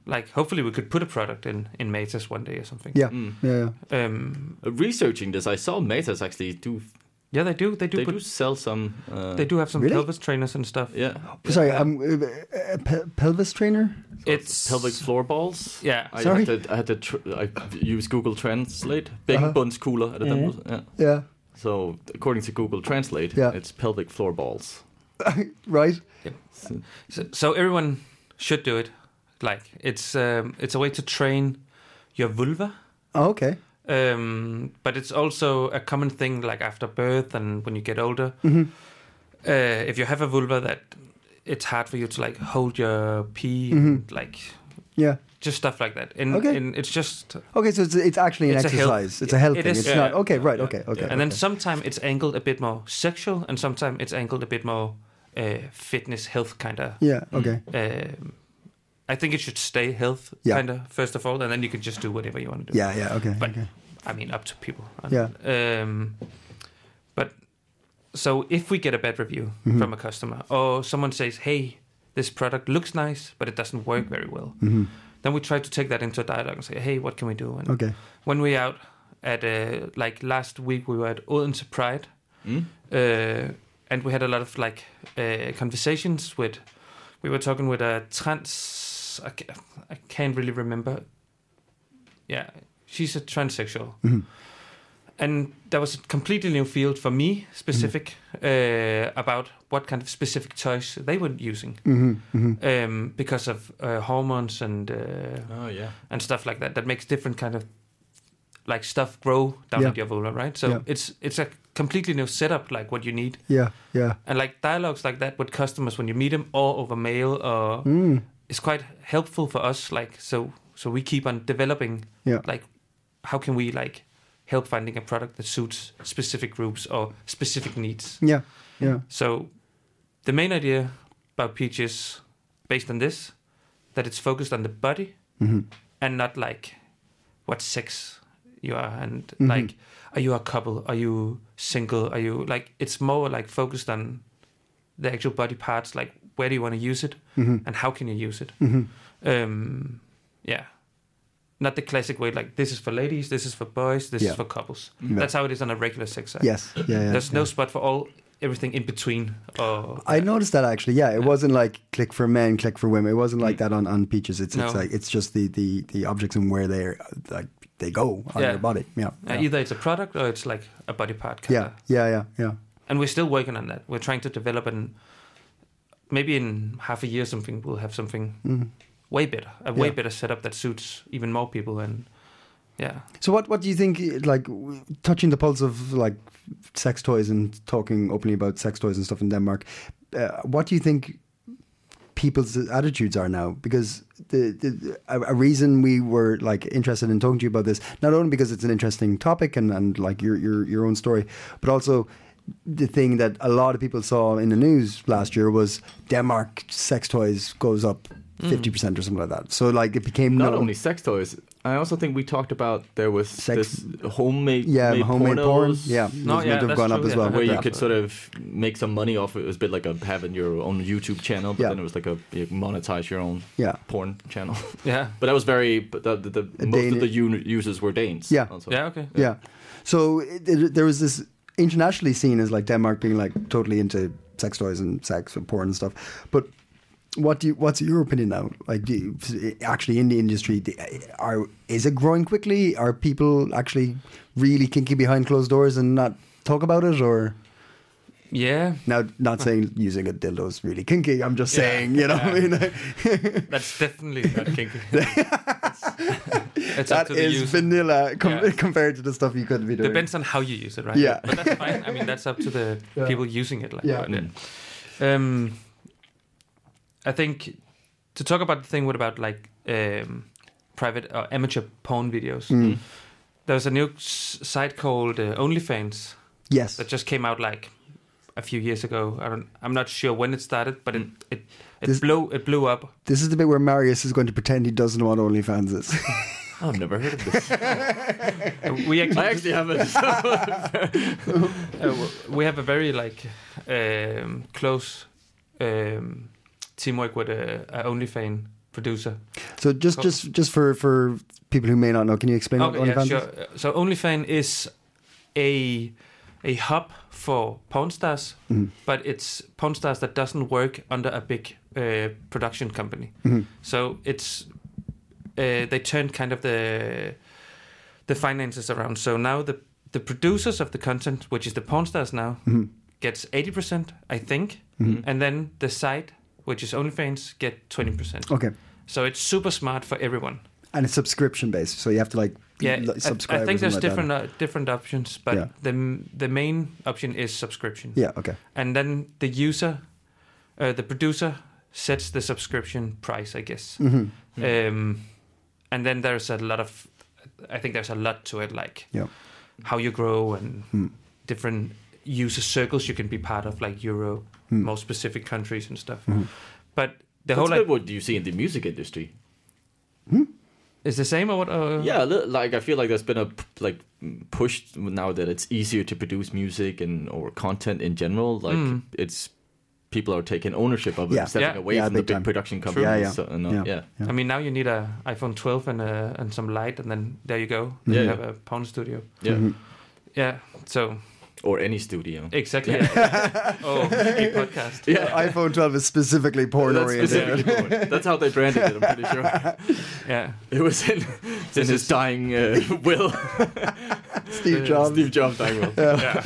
like hopefully we could put a product in in Matas one day or something Yeah. Yeah. yeah. um Uh, Researching this, I saw Metas actually do. yeah they do They they do they, put, do sell some. Uh, they do have some Really? pelvis trainers and stuff Yeah. Sorry, I'm uh, uh, pe- pelvis trainer. it's pelvic floor balls. yeah I Sorry? had to, I had to tr- I use Google Translate. Big Uh-huh. buns cooler at a Mhm. dumbbell- yeah. Yeah. So according to Google Translate, Yeah. it's pelvic floor balls. Right. so, so everyone should do it like it's um it's a way to train your vulva Oh, okay. um, but it's also a common thing like after birth and when you get older Mm-hmm. uh, if you have a vulva that it's hard for you to like hold your pee and like Yeah. just stuff like that. And, Mm-hmm. Okay. and it's just Okay, so it's, it's actually an It's a health- exercise. it's a health it thing. is, it's yeah, not yeah. okay, right? Okay, okay. and then okay. sometimes it's angled a bit more sexual, and sometimes it's angled a bit more uh, fitness, health kind of. yeah, okay, Um, I think it should stay health Yeah. kind of first of all, and then you can just do whatever you want to do. yeah, yeah, okay, But- okay. I mean, up to people. Yeah. Um, but so if we get a bad review Mm-hmm. from a customer, or someone says, "Hey, this product looks nice, but it doesn't work very well," Mhm. then we try to take that into a dialogue and say, "Hey, what can we do?" And Okay. when we're out at uh, like last week, we were at Odense Pride, Mm. uh, and we had a lot of like uh, conversations with. We were talking with a trans. I, ca- I can't really remember. Yeah, she's a transsexual, Mhm. and that was a completely new field for me, specific Mm-hmm. uh, about what kind of specific toys they were using hmm hmm um, because of uh, hormones and uh, Oh yeah. and stuff like that that makes different kind of like stuff grow down Yeah. at your vulva, right? So Yeah. it's it's a completely new setup, like what you need, Yeah, yeah. and like dialogues like that with customers when you meet them, or over mail, or Mm. it's quite helpful for us. Like so, so we keep on developing. Yeah. Like, how can we like help finding a product that suits specific groups or specific needs? Yeah, yeah. So, the main idea about Peach is based on this, that it's focused on the body hmm and not like what sex you are and Mhm. like are you a couple are you single are you like it's more like focused on the actual body parts like where do you want to use it hmm and how can you use it hmm um yeah not the classic way like this is for ladies this is for boys this Yeah. is for couples Yeah. that's how it is on a regular sex site Yes, yeah, yeah. there's yeah. no spot for all everything in between or uh, I noticed that actually. Yeah, it wasn't like click for men, click for women. It wasn't like that on, on peaches. It's it's Hmm. No. like it's just the, the, the objects and where they are like they go on Yeah. your body. Yeah, Uh, yeah. either it's a product or it's like a body part kinda. yeah, yeah, yeah, yeah. and we're still working on that. We're trying to develop, and maybe in half a year, something we'll have something Mm. way better, a way Yeah. better setup that suits even more people. And yeah, So what what do you think? Like w- touching the pulse of like sex toys and talking openly about sex toys and stuff in Denmark. Uh, what do you think people's attitudes are now? Because the, the a, a reason we were like interested in talking to you about this, not only because it's an interesting topic and, and like your your your own story, but also the thing that a lot of people saw in the news last year was Denmark sex toys goes up fifty percent or something like that. So like it became Not known- only sex toys. I also think we talked about there was Sex- this homemade yeah made homemade porn pornos. yeah No, those yeah, would have that's gone up true, as yeah. well where you Yeah. could sort of make some money off it. It was a bit like a having your own YouTube channel, but Yeah. then it was like a you monetize your own Yeah. porn channel. yeah, but that was very. But the, the, the A most Dane- of the un- users were Danes. Yeah. also. yeah, okay, yeah so it, it- there was this internationally seen as like denmark being like totally into sex toys and sex and porn and stuff but what do you, what's your opinion now like do you, actually in the industry do- are is it growing quickly are people actually really kinky behind closed doors and not talk about it or yeah. now not saying using a dildo is really kinky i'm just Yeah. saying you know what i mean That's definitely not kinky. it's it's up that to the is user. vanilla com- Yeah. compared to the stuff you could be doing Depends on how you use it, right? Yeah. but that's fine. I mean, that's up to the Yeah. people using it. Like, Yeah. but, uh, um, I think to talk about the thing, what about like um, private or amateur porn videos? Mm. There's a new s- site called uh, OnlyFans yes that just came out like a few years ago. I don't, I'm not sure when it started, but it it it This- blew it blew up. This is the bit where Marius is going to pretend he doesn't know what OnlyFans is. I've never heard of this. We I actually actually haven't. uh, w- we have a very like um, close um, teamwork with a, a OnlyFans producer. so just, Cool. just, just for for people who may not know, can you explain Okay, what yeah, OnlyFans sure. is? Uh, So OnlyFans is a a hub for porn stars, but it's porn stars that doesn't work under a big uh, production company. So it's uh, they turned kind of the the finances around. So now the the producers of the content, which is the porn stars now, gets eighty percent, I think, and then the site, which is OnlyFans, get twenty percent. Okay, So it's super smart for everyone. and it's subscription based, so you have to like Yeah, l- I- subscribe. I, or think something there's like that. different uh, different options, but Yeah. the the main option is subscription. Yeah. Okay. And then the user, Mm-hmm. uh, the producer sets the subscription price, I guess. Um, and then there's a lot of, I think there's a lot to it, like Yeah. how you grow and Hmm. different user circles you can be part of, like Euro, Hmm. more specific countries and stuff. Mhm. But the That's whole a bit like, what you see in the music industry. is the same or what? Uh, Yeah, a li- like I feel like there's been a p- like mm, push now that it's easier to produce music and or content in general. Like Mm. it's people are taking ownership of it, Yeah. and stepping Yeah. away Yeah, from the big big time. production True. companies. Yeah, yeah. So, and, uh, Yeah. yeah. Yeah. I mean, now you need a iPhone 12 and a, and some light, and then there you go. Mm-hmm. Yeah, you yeah. have a Pound Studio. yeah. Mhm. Yeah. So or any studio. exactly. yeah. oh, a podcast. Yeah. iPhone 12 is specifically porn That's, oriented. specifically Bourne. That's how they branded it. I'm pretty sure Yeah. it was in, it's in his dying uh, will. Steve Jobs. Steve Jobs' dying will. yeah.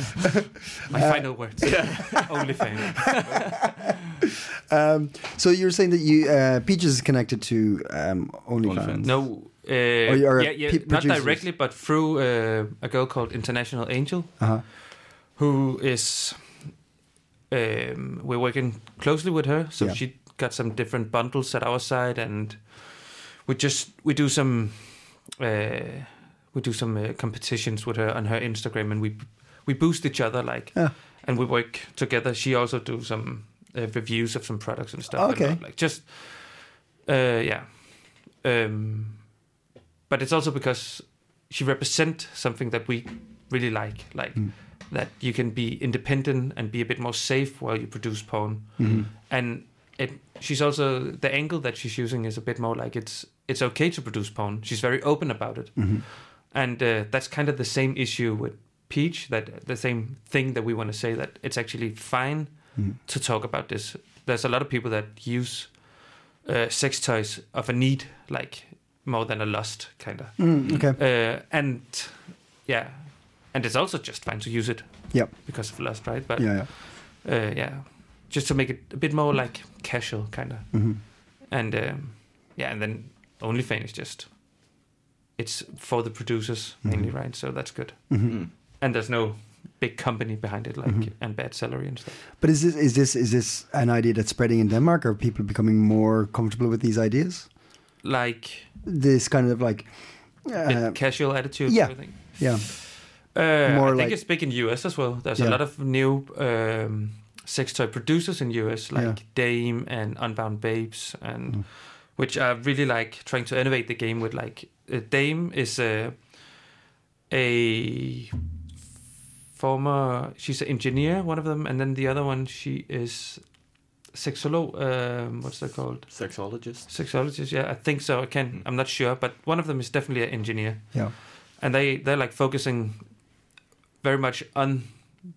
My final words. Only thing. Um, so you were saying that you uh, Peaches is connected to um, OnlyFans. OnlyFans. No. Uh, you are yeah, yeah, pe- not producers. directly, but through uh, a girl called International Angel, Uh-huh. who is. Um, we're working closely with her, so Yeah. she got some different bundles at our side, and we just we do some uh, we do some uh, competitions with her on her Instagram, and we we boost each other like, Yeah. and we work together. She also do some uh, reviews of some products and stuff. Okay. and, like just uh, yeah, um, but it's also because she represent something that we really like, like Mm. that you can be independent and be a bit more safe while you produce porn Mhm. and it she's also the angle that she's using is a bit more like it's it's okay to produce porn she's very open about it Mhm. and uh, that's kind of the same issue with peach that the same thing that we want to say that it's actually fine Mhm. to talk about this there's a lot of people that use uh, sex toys of a need like more than a lust kind of Mm, okay. uh, and yeah and it's also just fine to use it Yep. because of lust right but Yeah. yeah. uh, yeah, just to make it a bit more like casual, kind of. Mhm. And um, yeah, and then OnlyFans is just it's for the producers Mm-hmm. mainly, right? So that's good. Mhm. Mm. And there's no big company behind it, like Mhm. and bad salary and stuff. But is this is this is this an idea that's spreading in Denmark? Are people becoming more comfortable with these ideas? Like This kind of like, a bit uh, casual attitude, yeah. yeah. everything. yeah, Uh, More I think like- it's big in US as well. There's Yeah. a lot of new um, sex toy producers in US, like Yeah. Dame and Unbound Babes, and Mm. which are really like trying to innovate the game with like uh, Dame is a a former she's an engineer, one of them, and then the other one she is sexolo. Um, what's that called? Sexologist. Sexologist? Yeah, I think so. I can. Mm. I'm not sure, but one of them is definitely an engineer yeah, and they they're like focusing very much on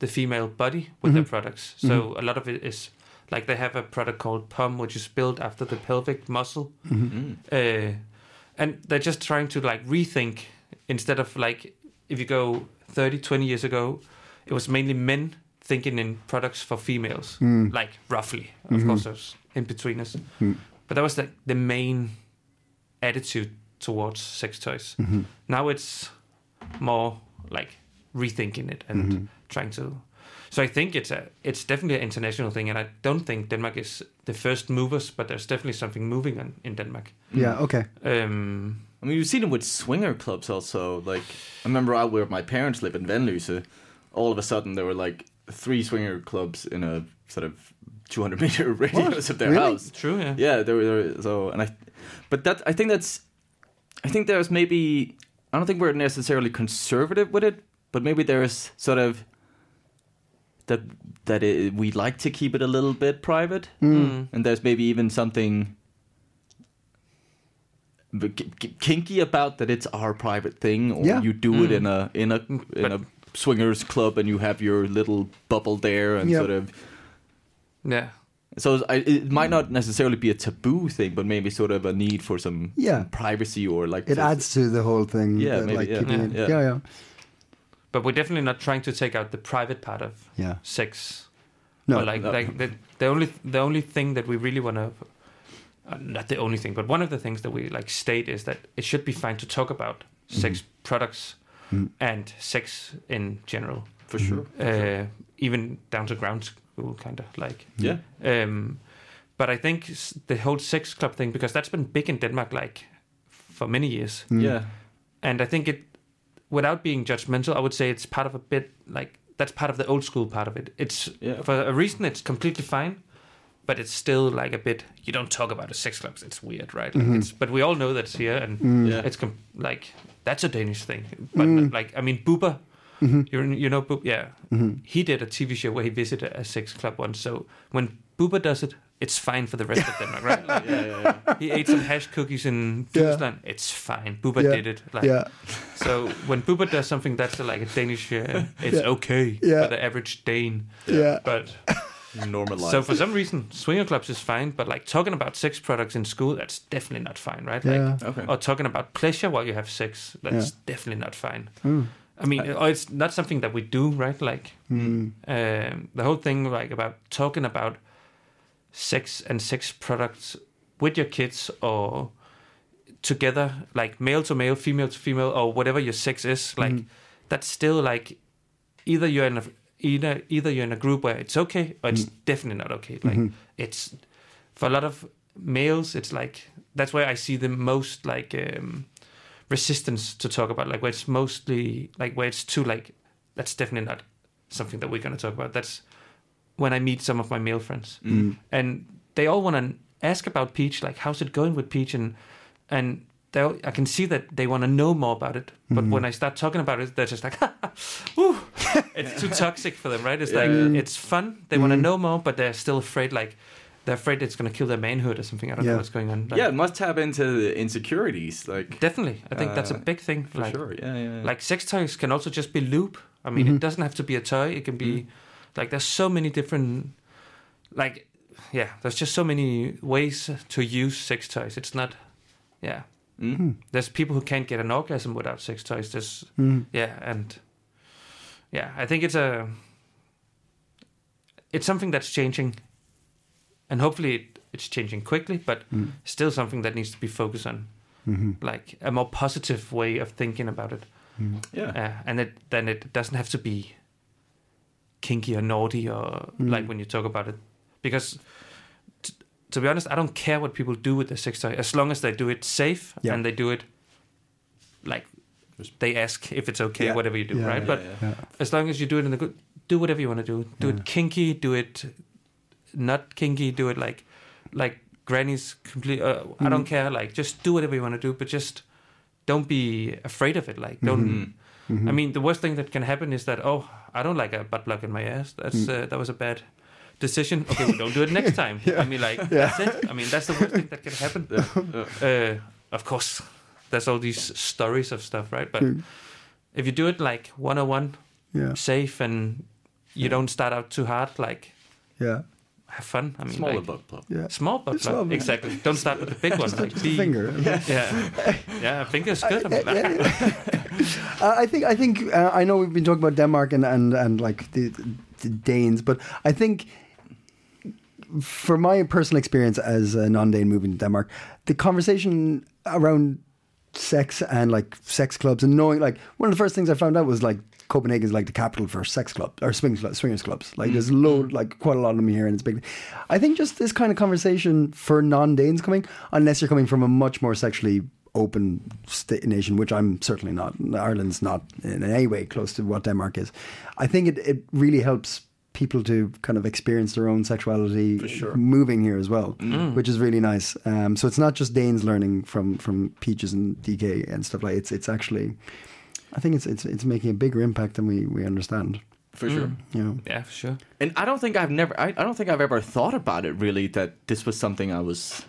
the female body with their Mhm. products. So a lot of it is like they have a product called POM, which is built after the pelvic muscle, Mhm. Mm. uh, and they're just trying to like rethink instead of like if you go 30, 20 years ago, it was mainly men thinking in products for females, Mm. like roughly. Of Mhm. course, there's in between us, Mm. but that was like the main attitude towards sex toys Mhm. now it's more like rethinking it and Mhm. trying to so i think it's a it's definitely an international thing and i don't think denmark is the first movers but there's definitely something moving on in denmark Mm. yeah, okay, um I mean, you've seen it with swinger clubs also. Like, I remember out where my parents live in Vanløse. All of a sudden, there were like three swinger clubs in a sort of 200 meter radius of their Really? house. true yeah Yeah, there were, there were so, and I, but that I think that's, I think there's maybe I don't think we're necessarily conservative with it, but maybe there's sort of that that it, we like to keep it a little bit private Hmm. Mm. and there's maybe even something b- k- k- kinky about that it's our private thing or Yeah. you do Hmm. it in a in a in a swingers club and you have your little bubble there and Yeah. sort of yeah so I, it might not necessarily be a taboo thing but maybe sort of a need for some Yeah. privacy or like it adds to the whole thing. Yeah, the, maybe, like yeah. keeping Yeah, it- yeah. yeah, yeah, but we're definitely not trying to take out the private part of yeah. sex No, Or like No. like the, the only the only thing that we really want to uh, not the only thing, but one of the things that we like state is that it should be fine to talk about sex products Mhm. and sex in general, for sure Mm-hmm. uh, even down to ground school kind of like. yeah Um, but I think s- the whole sex club thing because that's been big in Denmark like f- for many years. Mm-hmm. Yeah. And I think it, without being judgmental, I would say it's part of a bit like that's part of the old school part of it. It's Yeah. for a reason it's completely fine, but it's still like a bit. You don't talk about it sex clubs. It's weird, right? Like it's, but we all know that's here, and Yeah. it's com- like that's a Danish thing. But like I mean, Booba. You, you know Booba, yeah. He did a TV show where he visited a sex club once. So when Booba does it, it's fine for the rest of Denmark, right? Like, yeah, yeah, yeah. he ate some hash cookies in Yeah. Tuesland. It's fine. Booba Yeah. did it. Like, yeah. So when Booba does something that's like a Danish, uh, it's Yeah. okay Yeah. for the average Dane. Yeah. But Normalized. so for some reason, swinger clubs is fine. But like talking about sex products in school, that's definitely not fine, right? Yeah. Like, okay. or talking about pleasure while you have sex, that's definitely not fine. I mean, or it's not something that we do, right? Like um, the whole thing, like about talking about sex and sex products with your kids or together, like male to male, female to female, or whatever your sex is, like that's still like either you're in a either either you're in a group where it's okay or it's definitely not okay. Like it's for a lot of males, it's like that's where I see the most like um, resistance to talk about, like where it's mostly like where it's too like that's definitely not something that we're going to talk about. That's when I meet some of my male friends, and they all want to ask about Peach, like how's it going with Peach, and and they all- I can see that they want to know more about it. But when I start talking about it, they're just like, "Ooh, it's too toxic for them, right?" It's like it's fun. They want to know more, but they're still afraid, like. They're afraid it's going to kill their manhood or something. I don't know Yeah. what's going on. Like, yeah, it must tap into the insecurities, like definitely. I think that's a Uh, big thing. for like, sure. Yeah, yeah. yeah. like sex toys can also just be lube. I mean, it doesn't have to be a toy. It can be like there's so many different like yeah, there's just so many ways to use sex toys. It's not yeah. Mm. There's people who can't get an orgasm without sex toys. There's yeah, and yeah, I think it's a it's something that's changing and hopefully it, it's changing quickly, but still something that needs to be focused on. Like a more positive way of thinking about it. yeah. Uh, and it, then it doesn't have to be kinky or naughty or Mm. like when you talk about it. Because t- to be honest, I don't care what people do with their sex toy as long as they do it safe Yeah. and they do it like they ask if it's okay, Yeah. whatever you do, Yeah, right? yeah, but yeah. as long as you do it in the good, do whatever you want to do. Do it kinky, do it not kinky, do it like like granny's complete. Uh, I don't care. Like just do whatever you want to do, but just don't be afraid of it. Like don't. I mean, the worst thing that can happen is that oh, I don't like a butt plug in my ass. That's uh, that was a bad decision. Okay, we don't do it next time. I mean, like that's it. I mean, that's the worst thing that can happen. Uh, of course, there's all these stories of stuff, right? But if you do it like 101, Yeah. safe, and you don't start out too hard, like Yeah. have fun. I mean, Smaller like, butt plug. Yeah. Small butt Small plug. butt. Exactly. Don't start with the big one. Like Just be- a finger. Yeah. Yeah, finger's good. I mean, Uh, I think I think uh, I know we've been talking about Denmark and and, and like the, the Danes, but I think for my personal experience as a non-Dane moving to Denmark, the conversation around sex and like sex clubs and knowing like one of the first things I found out was like Copenhagen is like the capital for sex club or swing cl- swingers clubs. Like there's load like quite a lot of them here and it's big. I think just this kind of conversation for non-Danes coming, unless you're coming from a much more sexually open state nation, which I'm certainly not. Ireland's not in any way close to what Denmark is. I think it, it really helps people to kind of experience their own sexuality moving here as well, which is really nice. Um, so it's not just Danes learning from from Peaches and DK and stuff like it's it's actually. I think it's it's it's making a bigger impact than we we understand. Mm. For sure. You know. yeah, for sure. And I don't think I've never. I, I don't think I've ever thought about it really. That this was something I was.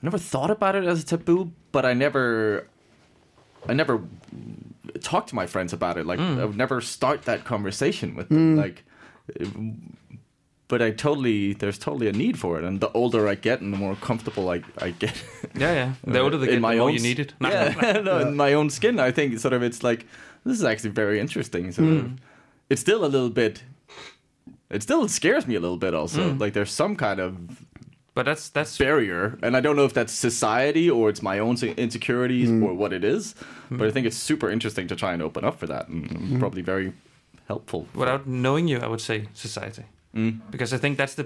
I never thought about it as a taboo, but I never. I never talked to my friends about it. Like Mm. I would never start that conversation with them. Like. But I totally there's totally a need for it, and the older I get, and the more comfortable I, I get. Yeah, yeah. The older they In get, the my more own you s- need it. No, yeah, no, in my own skin. I think sort of it's like this is actually very interesting. So Hmm. it's still a little bit. It still scares me a little bit. Also, Hmm. like there's some kind of But that's that's barrier, and I don't know if that's society or it's my own se- insecurities or what it is. But Hmm. I think it's super interesting to try and open up for that, and probably very helpful. for- without knowing Mm. you, I would say society, because I think that's the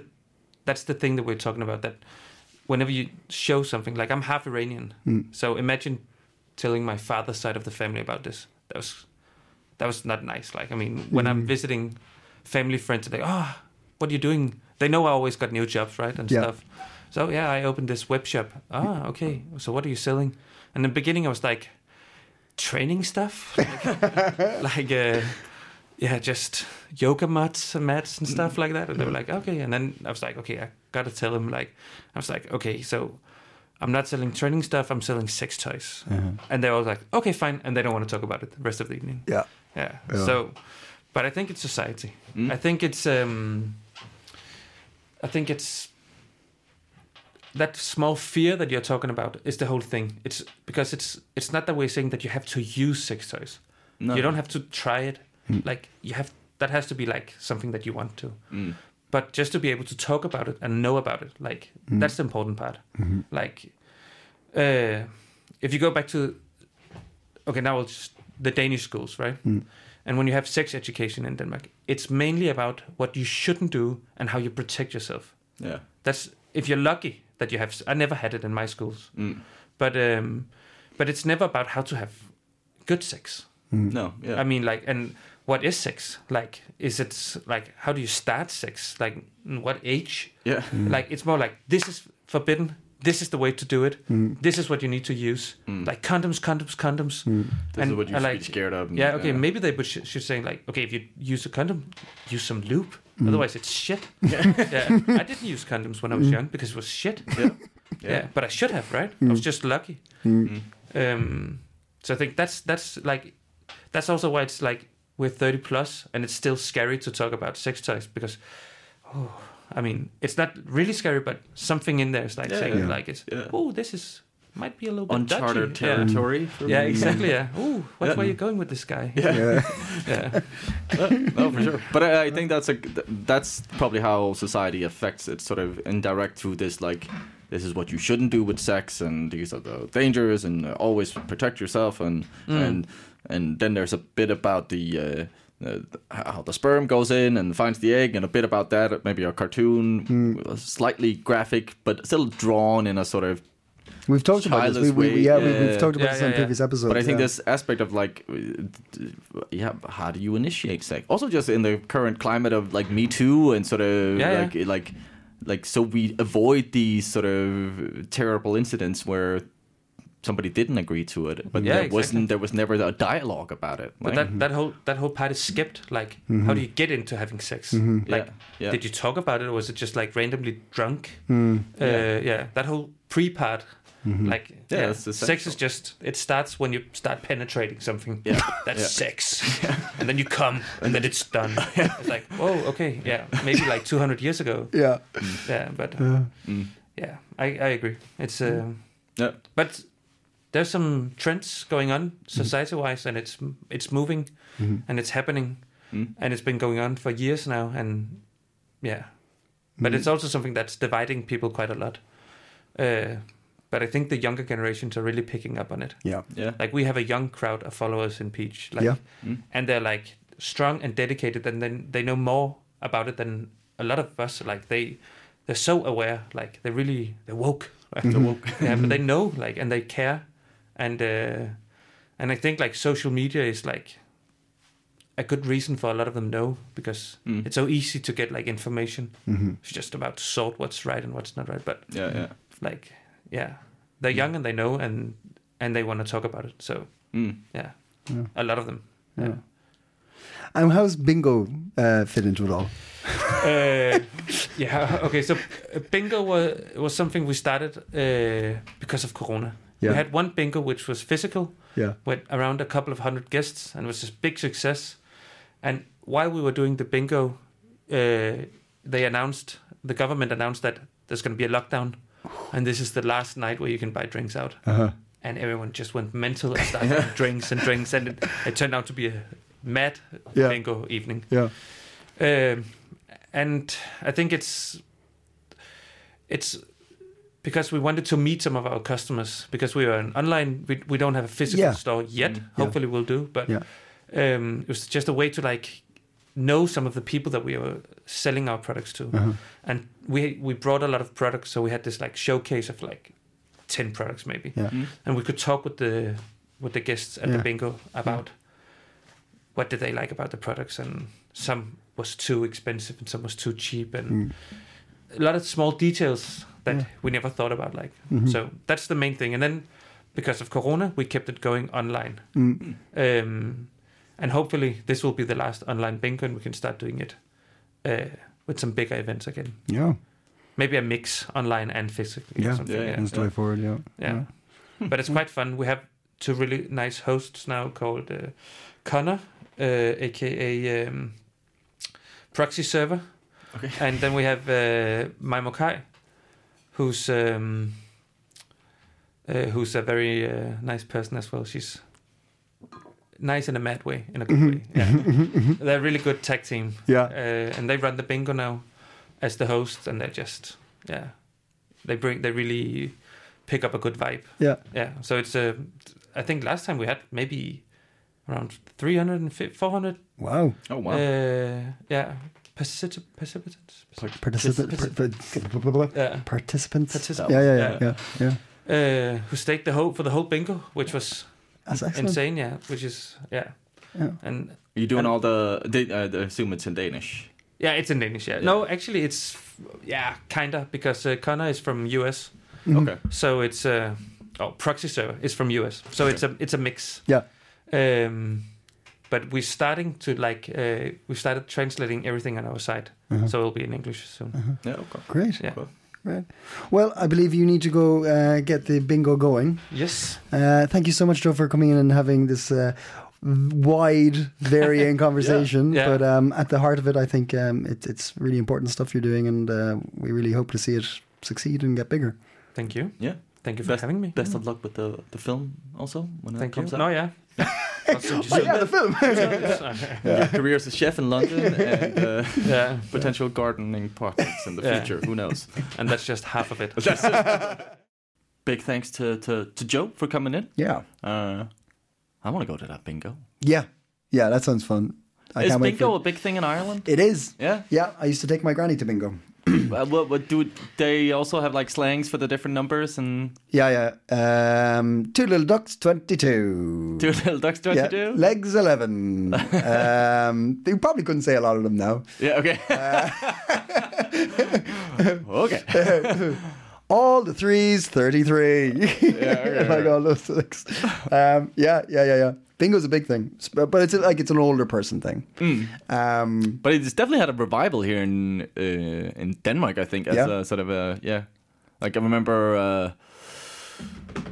that's the thing that we're talking about. That whenever you show something, like I'm half Iranian, Mm. so imagine telling my father's side of the family about this. That was that was not nice. Like I mean, when I'm Mm. visiting family friends, they're like, "Ah, what are you doing?" They know I always got new jobs, right, and Yeah. stuff. So yeah, I opened this web shop. Ah, okay. So what are you selling? And in the beginning, I was like, training stuff, like, like, uh, yeah, just yoga mats and mats and stuff like that. And they were like, okay. And then I was like, okay, I gotta tell him. Like, I was like, okay, so I'm not selling training stuff. I'm selling sex toys. And they were like, okay, fine. And they don't want to talk about it the rest of the evening. Yeah. Yeah. Yeah. So, but I think it's society. Mm. I think it's, um, I think it's that small fear that you're talking about is the whole thing. It's because it's it's not that we're saying that you have to use sex toys. No. You don't have to try it. Mm. Like you have that has to be like something that you want to. Mm. But just to be able to talk about it and know about it, like Mm. that's the important part. Mhm. Like, uh, if you go back to, okay, now it's just the Danish schools, right? Mm. And when you have sex education in Denmark, it's mainly about what you shouldn't do and how you protect yourself. Yeah. That's if you're lucky that you have. I never had it in my schools, Mm. but um, but it's never about how to have good sex. Mm. No. Yeah. I mean, like, and what is sex? Like, is it like how do you start sex? Like, what age? yeah. Like, it's more like this is forbidden. This is the way to do it. This is what you need to use. Mm. Like condoms, condoms, condoms. This is and what you I should like- be scared of. and- Yeah, okay. Maybe they but should, should say like, okay, if you use a condom, use some lube. Otherwise, it's shit. Yeah. Yeah, I didn't use condoms when I was young because it was shit. yeah. Yeah, but I should have, right? I was just lucky. Mm. Um, so I think that's that's like that's also why it's like we're 30 plus and it's still scary to talk about sex toys because oh I mean it's not really scary but something in there is like Yeah, saying yeah. like it's Yeah. oh this is might be a little bit Uncharted dodgy." Yeah. territory. for Yeah, me. exactly. Yeah. Oh, what Yeah. way you going with this guy? Yeah. Yeah. yeah. no, for sure. But I, I think that's a that's probably how society affects it, sort of indirect through this like this is what you shouldn't do with sex, and these are the dangers, and uh, always protect yourself, and and and then there's a bit about the. Uh, uh, how the sperm goes in and finds the egg, and a bit about that, maybe a cartoon, slightly graphic, but still drawn in a sort of We've talked about this. We, Childless we, way. yeah, we, Yeah, we've yeah, talked about yeah. this Yeah, on yeah, previous episodes. but I think yeah. this aspect of like, uh, d- yeah, how do you initiate sex? Also, just in the current climate of like Me Too and sort of Yeah, yeah. like like like so we avoid these sort of terrible incidents where somebody didn't agree to it, but Yeah, there exactly. wasn't there was never a dialogue about it. like- But that, that whole that whole part is skipped. Like, how do you get into having sex? Like, Yeah, yeah. did you talk about it, or was it just like randomly drunk? Uh, yeah. Yeah. that whole pre part. Like, Yeah, yeah, that's the sex sexual. is just it starts when you start penetrating something. Yeah. Yeah. that's sex, and then you come, and then it's done. It's like, whoa, okay, yeah, maybe like two hundred years ago. yeah. Yeah, but Yeah. Mm. yeah, I, I agree. It's um, mm-hmm. Yeah. but there's some trends going on society wise, and it's it's moving, and it's happening, Mm. and it's been going on for years now, and yeah, but it's also something that's dividing people quite a lot. Uh, but I think the younger generations are really picking up on it. Yeah. yeah, Like we have a young crowd of followers in Peach, like, Yeah. Mm. and they're like strong and dedicated, and then they know more about it than a lot of us. Like they, they're so aware. Like they really they're woke. Like, Mm-hmm. they're woke. yeah, but they know like and they care, and uh, and I think like social media is like a good reason for a lot of them know because Mm. it's so easy to get like information. Mm-hmm. It's just about to sort what's right and what's not right, but yeah, yeah. like yeah they're Mm. young and they know and and they want to talk about it so Mm. yeah, Yeah. a lot of them Yeah. And how's bingo uh, fit into it all? uh, yeah okay so uh, bingo was was something we started uh, because of corona Yeah. we had one bingo which was physical Yeah. with around a couple of hundred guests and it was this big success and while we were doing the bingo uh, they announced the government announced that there's going to be a lockdown and this is the last night where you can buy drinks out Uh-huh. and everyone just went mental and started having drinks and drinks, and it, it turned out to be a mad Yeah. bingo evening. Yeah. Um, and I think it's it's because we wanted to meet some of our customers because we are an online we, we don't have a physical Yeah. store yet Mm. hopefully we'll do but Yeah. um, it was just a way to like know some of the people that we were selling our products to, Uh-huh. and we we brought a lot of products, so we had this like showcase of like ten products maybe, Yeah. Mm. and we could talk with the with the guests at Yeah. the bingo about what did they like about the products, and some was too expensive and some was too cheap, and Mm. a lot of small details that Yeah. we never thought about like Mhm. so that's the main thing and then because of corona we kept it going online Mm. um, and hopefully this will be the last online bingo and we can start doing it uh, with some bigger events again Yeah. maybe a mix online and physically Yeah. or something. Yeah, yeah, That's the way forward. Yeah. Yeah. but it's quite fun we have two really nice hosts now called uh, connor uh, aka um, proxy server Okay. and then we have uh, Maimo Kai, who's um, uh, who's a very uh, nice person as well. She's nice in a mad way, in a good way. Yeah. they're a really good tag team, Yeah. uh, and they run the bingo now as the hosts, and they're just yeah, they bring they really pick up a good vibe. Yeah. Yeah, so it's uh, I think last time we had maybe around 300 400 Wow. Oh wow. uh, yeah particip- participants Participant. Participant. yeah Participants. Particip- yeah, yeah, yeah, yeah. yeah, yeah. uh, who staked the whole for the whole bingo, which was That's excellent. insane. Yeah, which is yeah, Yeah. and Are you doing and- all the? They, uh, I assume it's in Danish. yeah, it's in Danish. Yeah, no, actually, it's yeah, kinda because uh, Connor is from US, Mm-hmm. Okay. so it's uh, oh proxy server is from US, so Okay. it's a it's a mix. Yeah. Um, but we're starting to like uh, we started translating everything on our site, Uh-huh. so it'll be in English soon. Yeah. Okay. Great. Yeah. Cool. Right. Well, I believe you need to go uh, get the bingo going. Yes. Uh, thank you so much, Joe, for coming in and having this uh, wide, varying conversation. Yeah. But um, at the heart of it, I think um, it, it's really important stuff you're doing, and uh, we really hope to see it succeed and get bigger. Thank you. Yeah. Thank you for having me. Best of luck with the the film also when Thank it you. comes No, out. yeah. I'll send you some- Oh, the film. Your Career as a chef in London and uh, yeah. potential gardening projects in the Yeah. future. Who knows? and that's just half of it. Big thanks to to, to Joe for coming in. yeah. Uh, I want to go to that bingo. Yeah. Yeah. That sounds fun. I Is can't wait. bingo For a big thing in Ireland? it. it is. Yeah. Yeah. I used to take my granny to bingo. uh, what, what do they also have like slangs for the different numbers and Yeah. Yeah. Um, two little ducks, twenty-two. two little ducks? Don't yeah. you do? Legs eleven. um, you probably couldn't say a lot of them now. yeah. Okay. Uh, okay. All the threes, 33. like all those things. Um, yeah, yeah, yeah, yeah. Bingo's a big thing, S- but but it's like it's an older person thing. Mm. Um, But it's definitely had a revival here in uh, in Denmark, I think, as Yeah. a sort of a yeah. Like I remember, uh,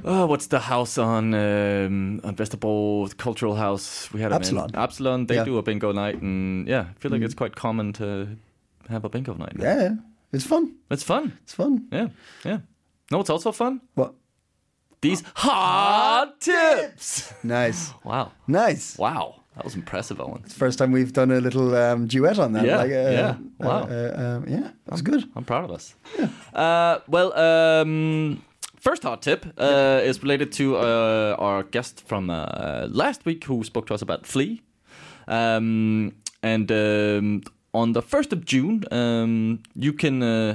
oh, what's the house on um, on Vesterbro the cultural house? We had them in Absalon. Absalon, they Yeah. Mm-hmm. do a bingo night, and yeah, I feel like it's quite common to have a bingo night. yeah, it's fun. it's fun. It's fun. Yeah, yeah. No, it's also fun. What? These hot tips. Nice, Wow, nice. wow, that was impressive, Owen. First time we've done a little um, duet on that. Yeah, like, yeah. Wow. Um, Uh, uh, yeah, that's good. I'm proud of us. Uh, well, um, first hot tip uh, is related to uh, our guest from uh, last week who spoke to us about Flea. Um, and um, on the 1st of June, um, you can. Uh,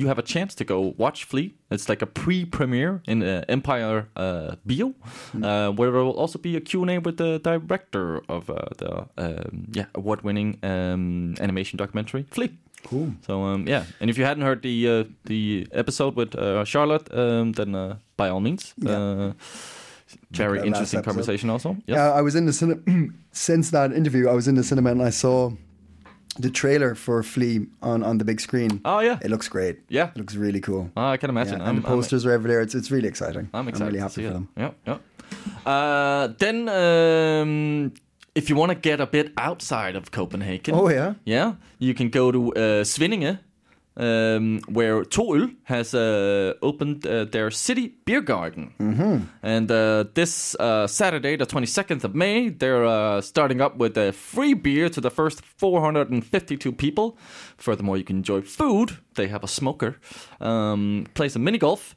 you have a chance to go watch Flea. It's like a pre-premiere in uh, Empire uh, Bio, uh, where there will also be a Q&A with the director of uh, the um, yeah award-winning um, animation documentary Flea. Cool. So um, yeah, and if you hadn't heard the uh, the episode with uh, Charlotte, um, then uh, by all means, uh, very that last interesting episode. conversation. Also, yes. Yeah, Uh, I was in the cinema since that interview. I was in the cinema and I saw the trailer for Flea on on the big screen. Oh yeah, It looks great. Yeah. it looks really cool. Ah, I can imagine. Yeah, and the posters are over there. It's, it's really exciting. I'm excited. I'm really to happy see for it. them. Yeah, yeah. Uh, then, um, if you want to get a bit outside of Copenhagen, Oh, yeah? yeah, you can go to uh, Svinninge, um, where Toul has uh, opened uh, their city beer garden, mm-hmm. and uh, this uh, Saturday, the 22nd of May, they're uh, starting up with a free beer to the first 452 people. Furthermore, you can enjoy food. They have a smoker, um, play some mini golf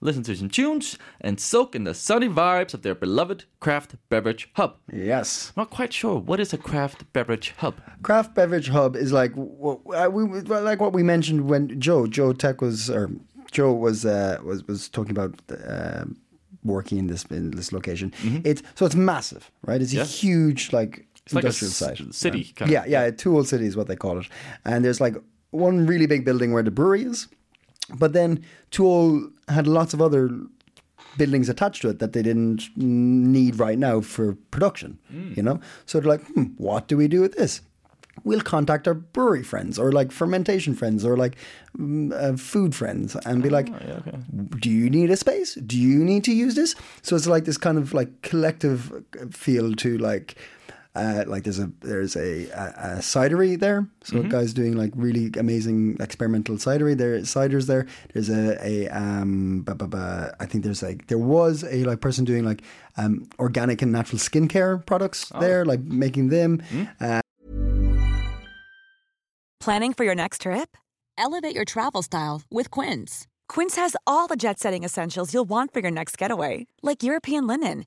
listen to some tunes, and soak in the sunny vibes of their beloved craft beverage hub. Yes. I'm not quite sure what is a craft beverage hub. Craft Beverage Hub is like what uh, we well, like what we mentioned when Joe Joe Tech was or Joe was uh, was was talking about uh, working in this in this location. Mm-hmm. It's so it's massive, right? It's a Yeah. huge like It's like a industrial s- site, city right? kind of. yeah, yeah, two old city is what they call it, and there's like one really big building where the brewery is, but then Tool had lots of other buildings attached to it that they didn't need right now for production. You know, so they're like, hmm, what do we do with this? We'll contact our brewery friends or like fermentation friends or like mm, uh, food friends and Ah, be like, do you need a space? Do you need to use this? So it's like this kind of like collective uh, feel to like. Uh, like there's a there's a, a, a cidery there, so a guys doing like really amazing experimental cidery. There ciders there. There's a a um ba, ba, ba, I think there's like there was a like person doing like um organic and natural skincare products there, like making them. Uh, Planning for your next trip? Elevate your travel style with Quince. Quince has all the jet setting essentials you'll want for your next getaway, like European linen,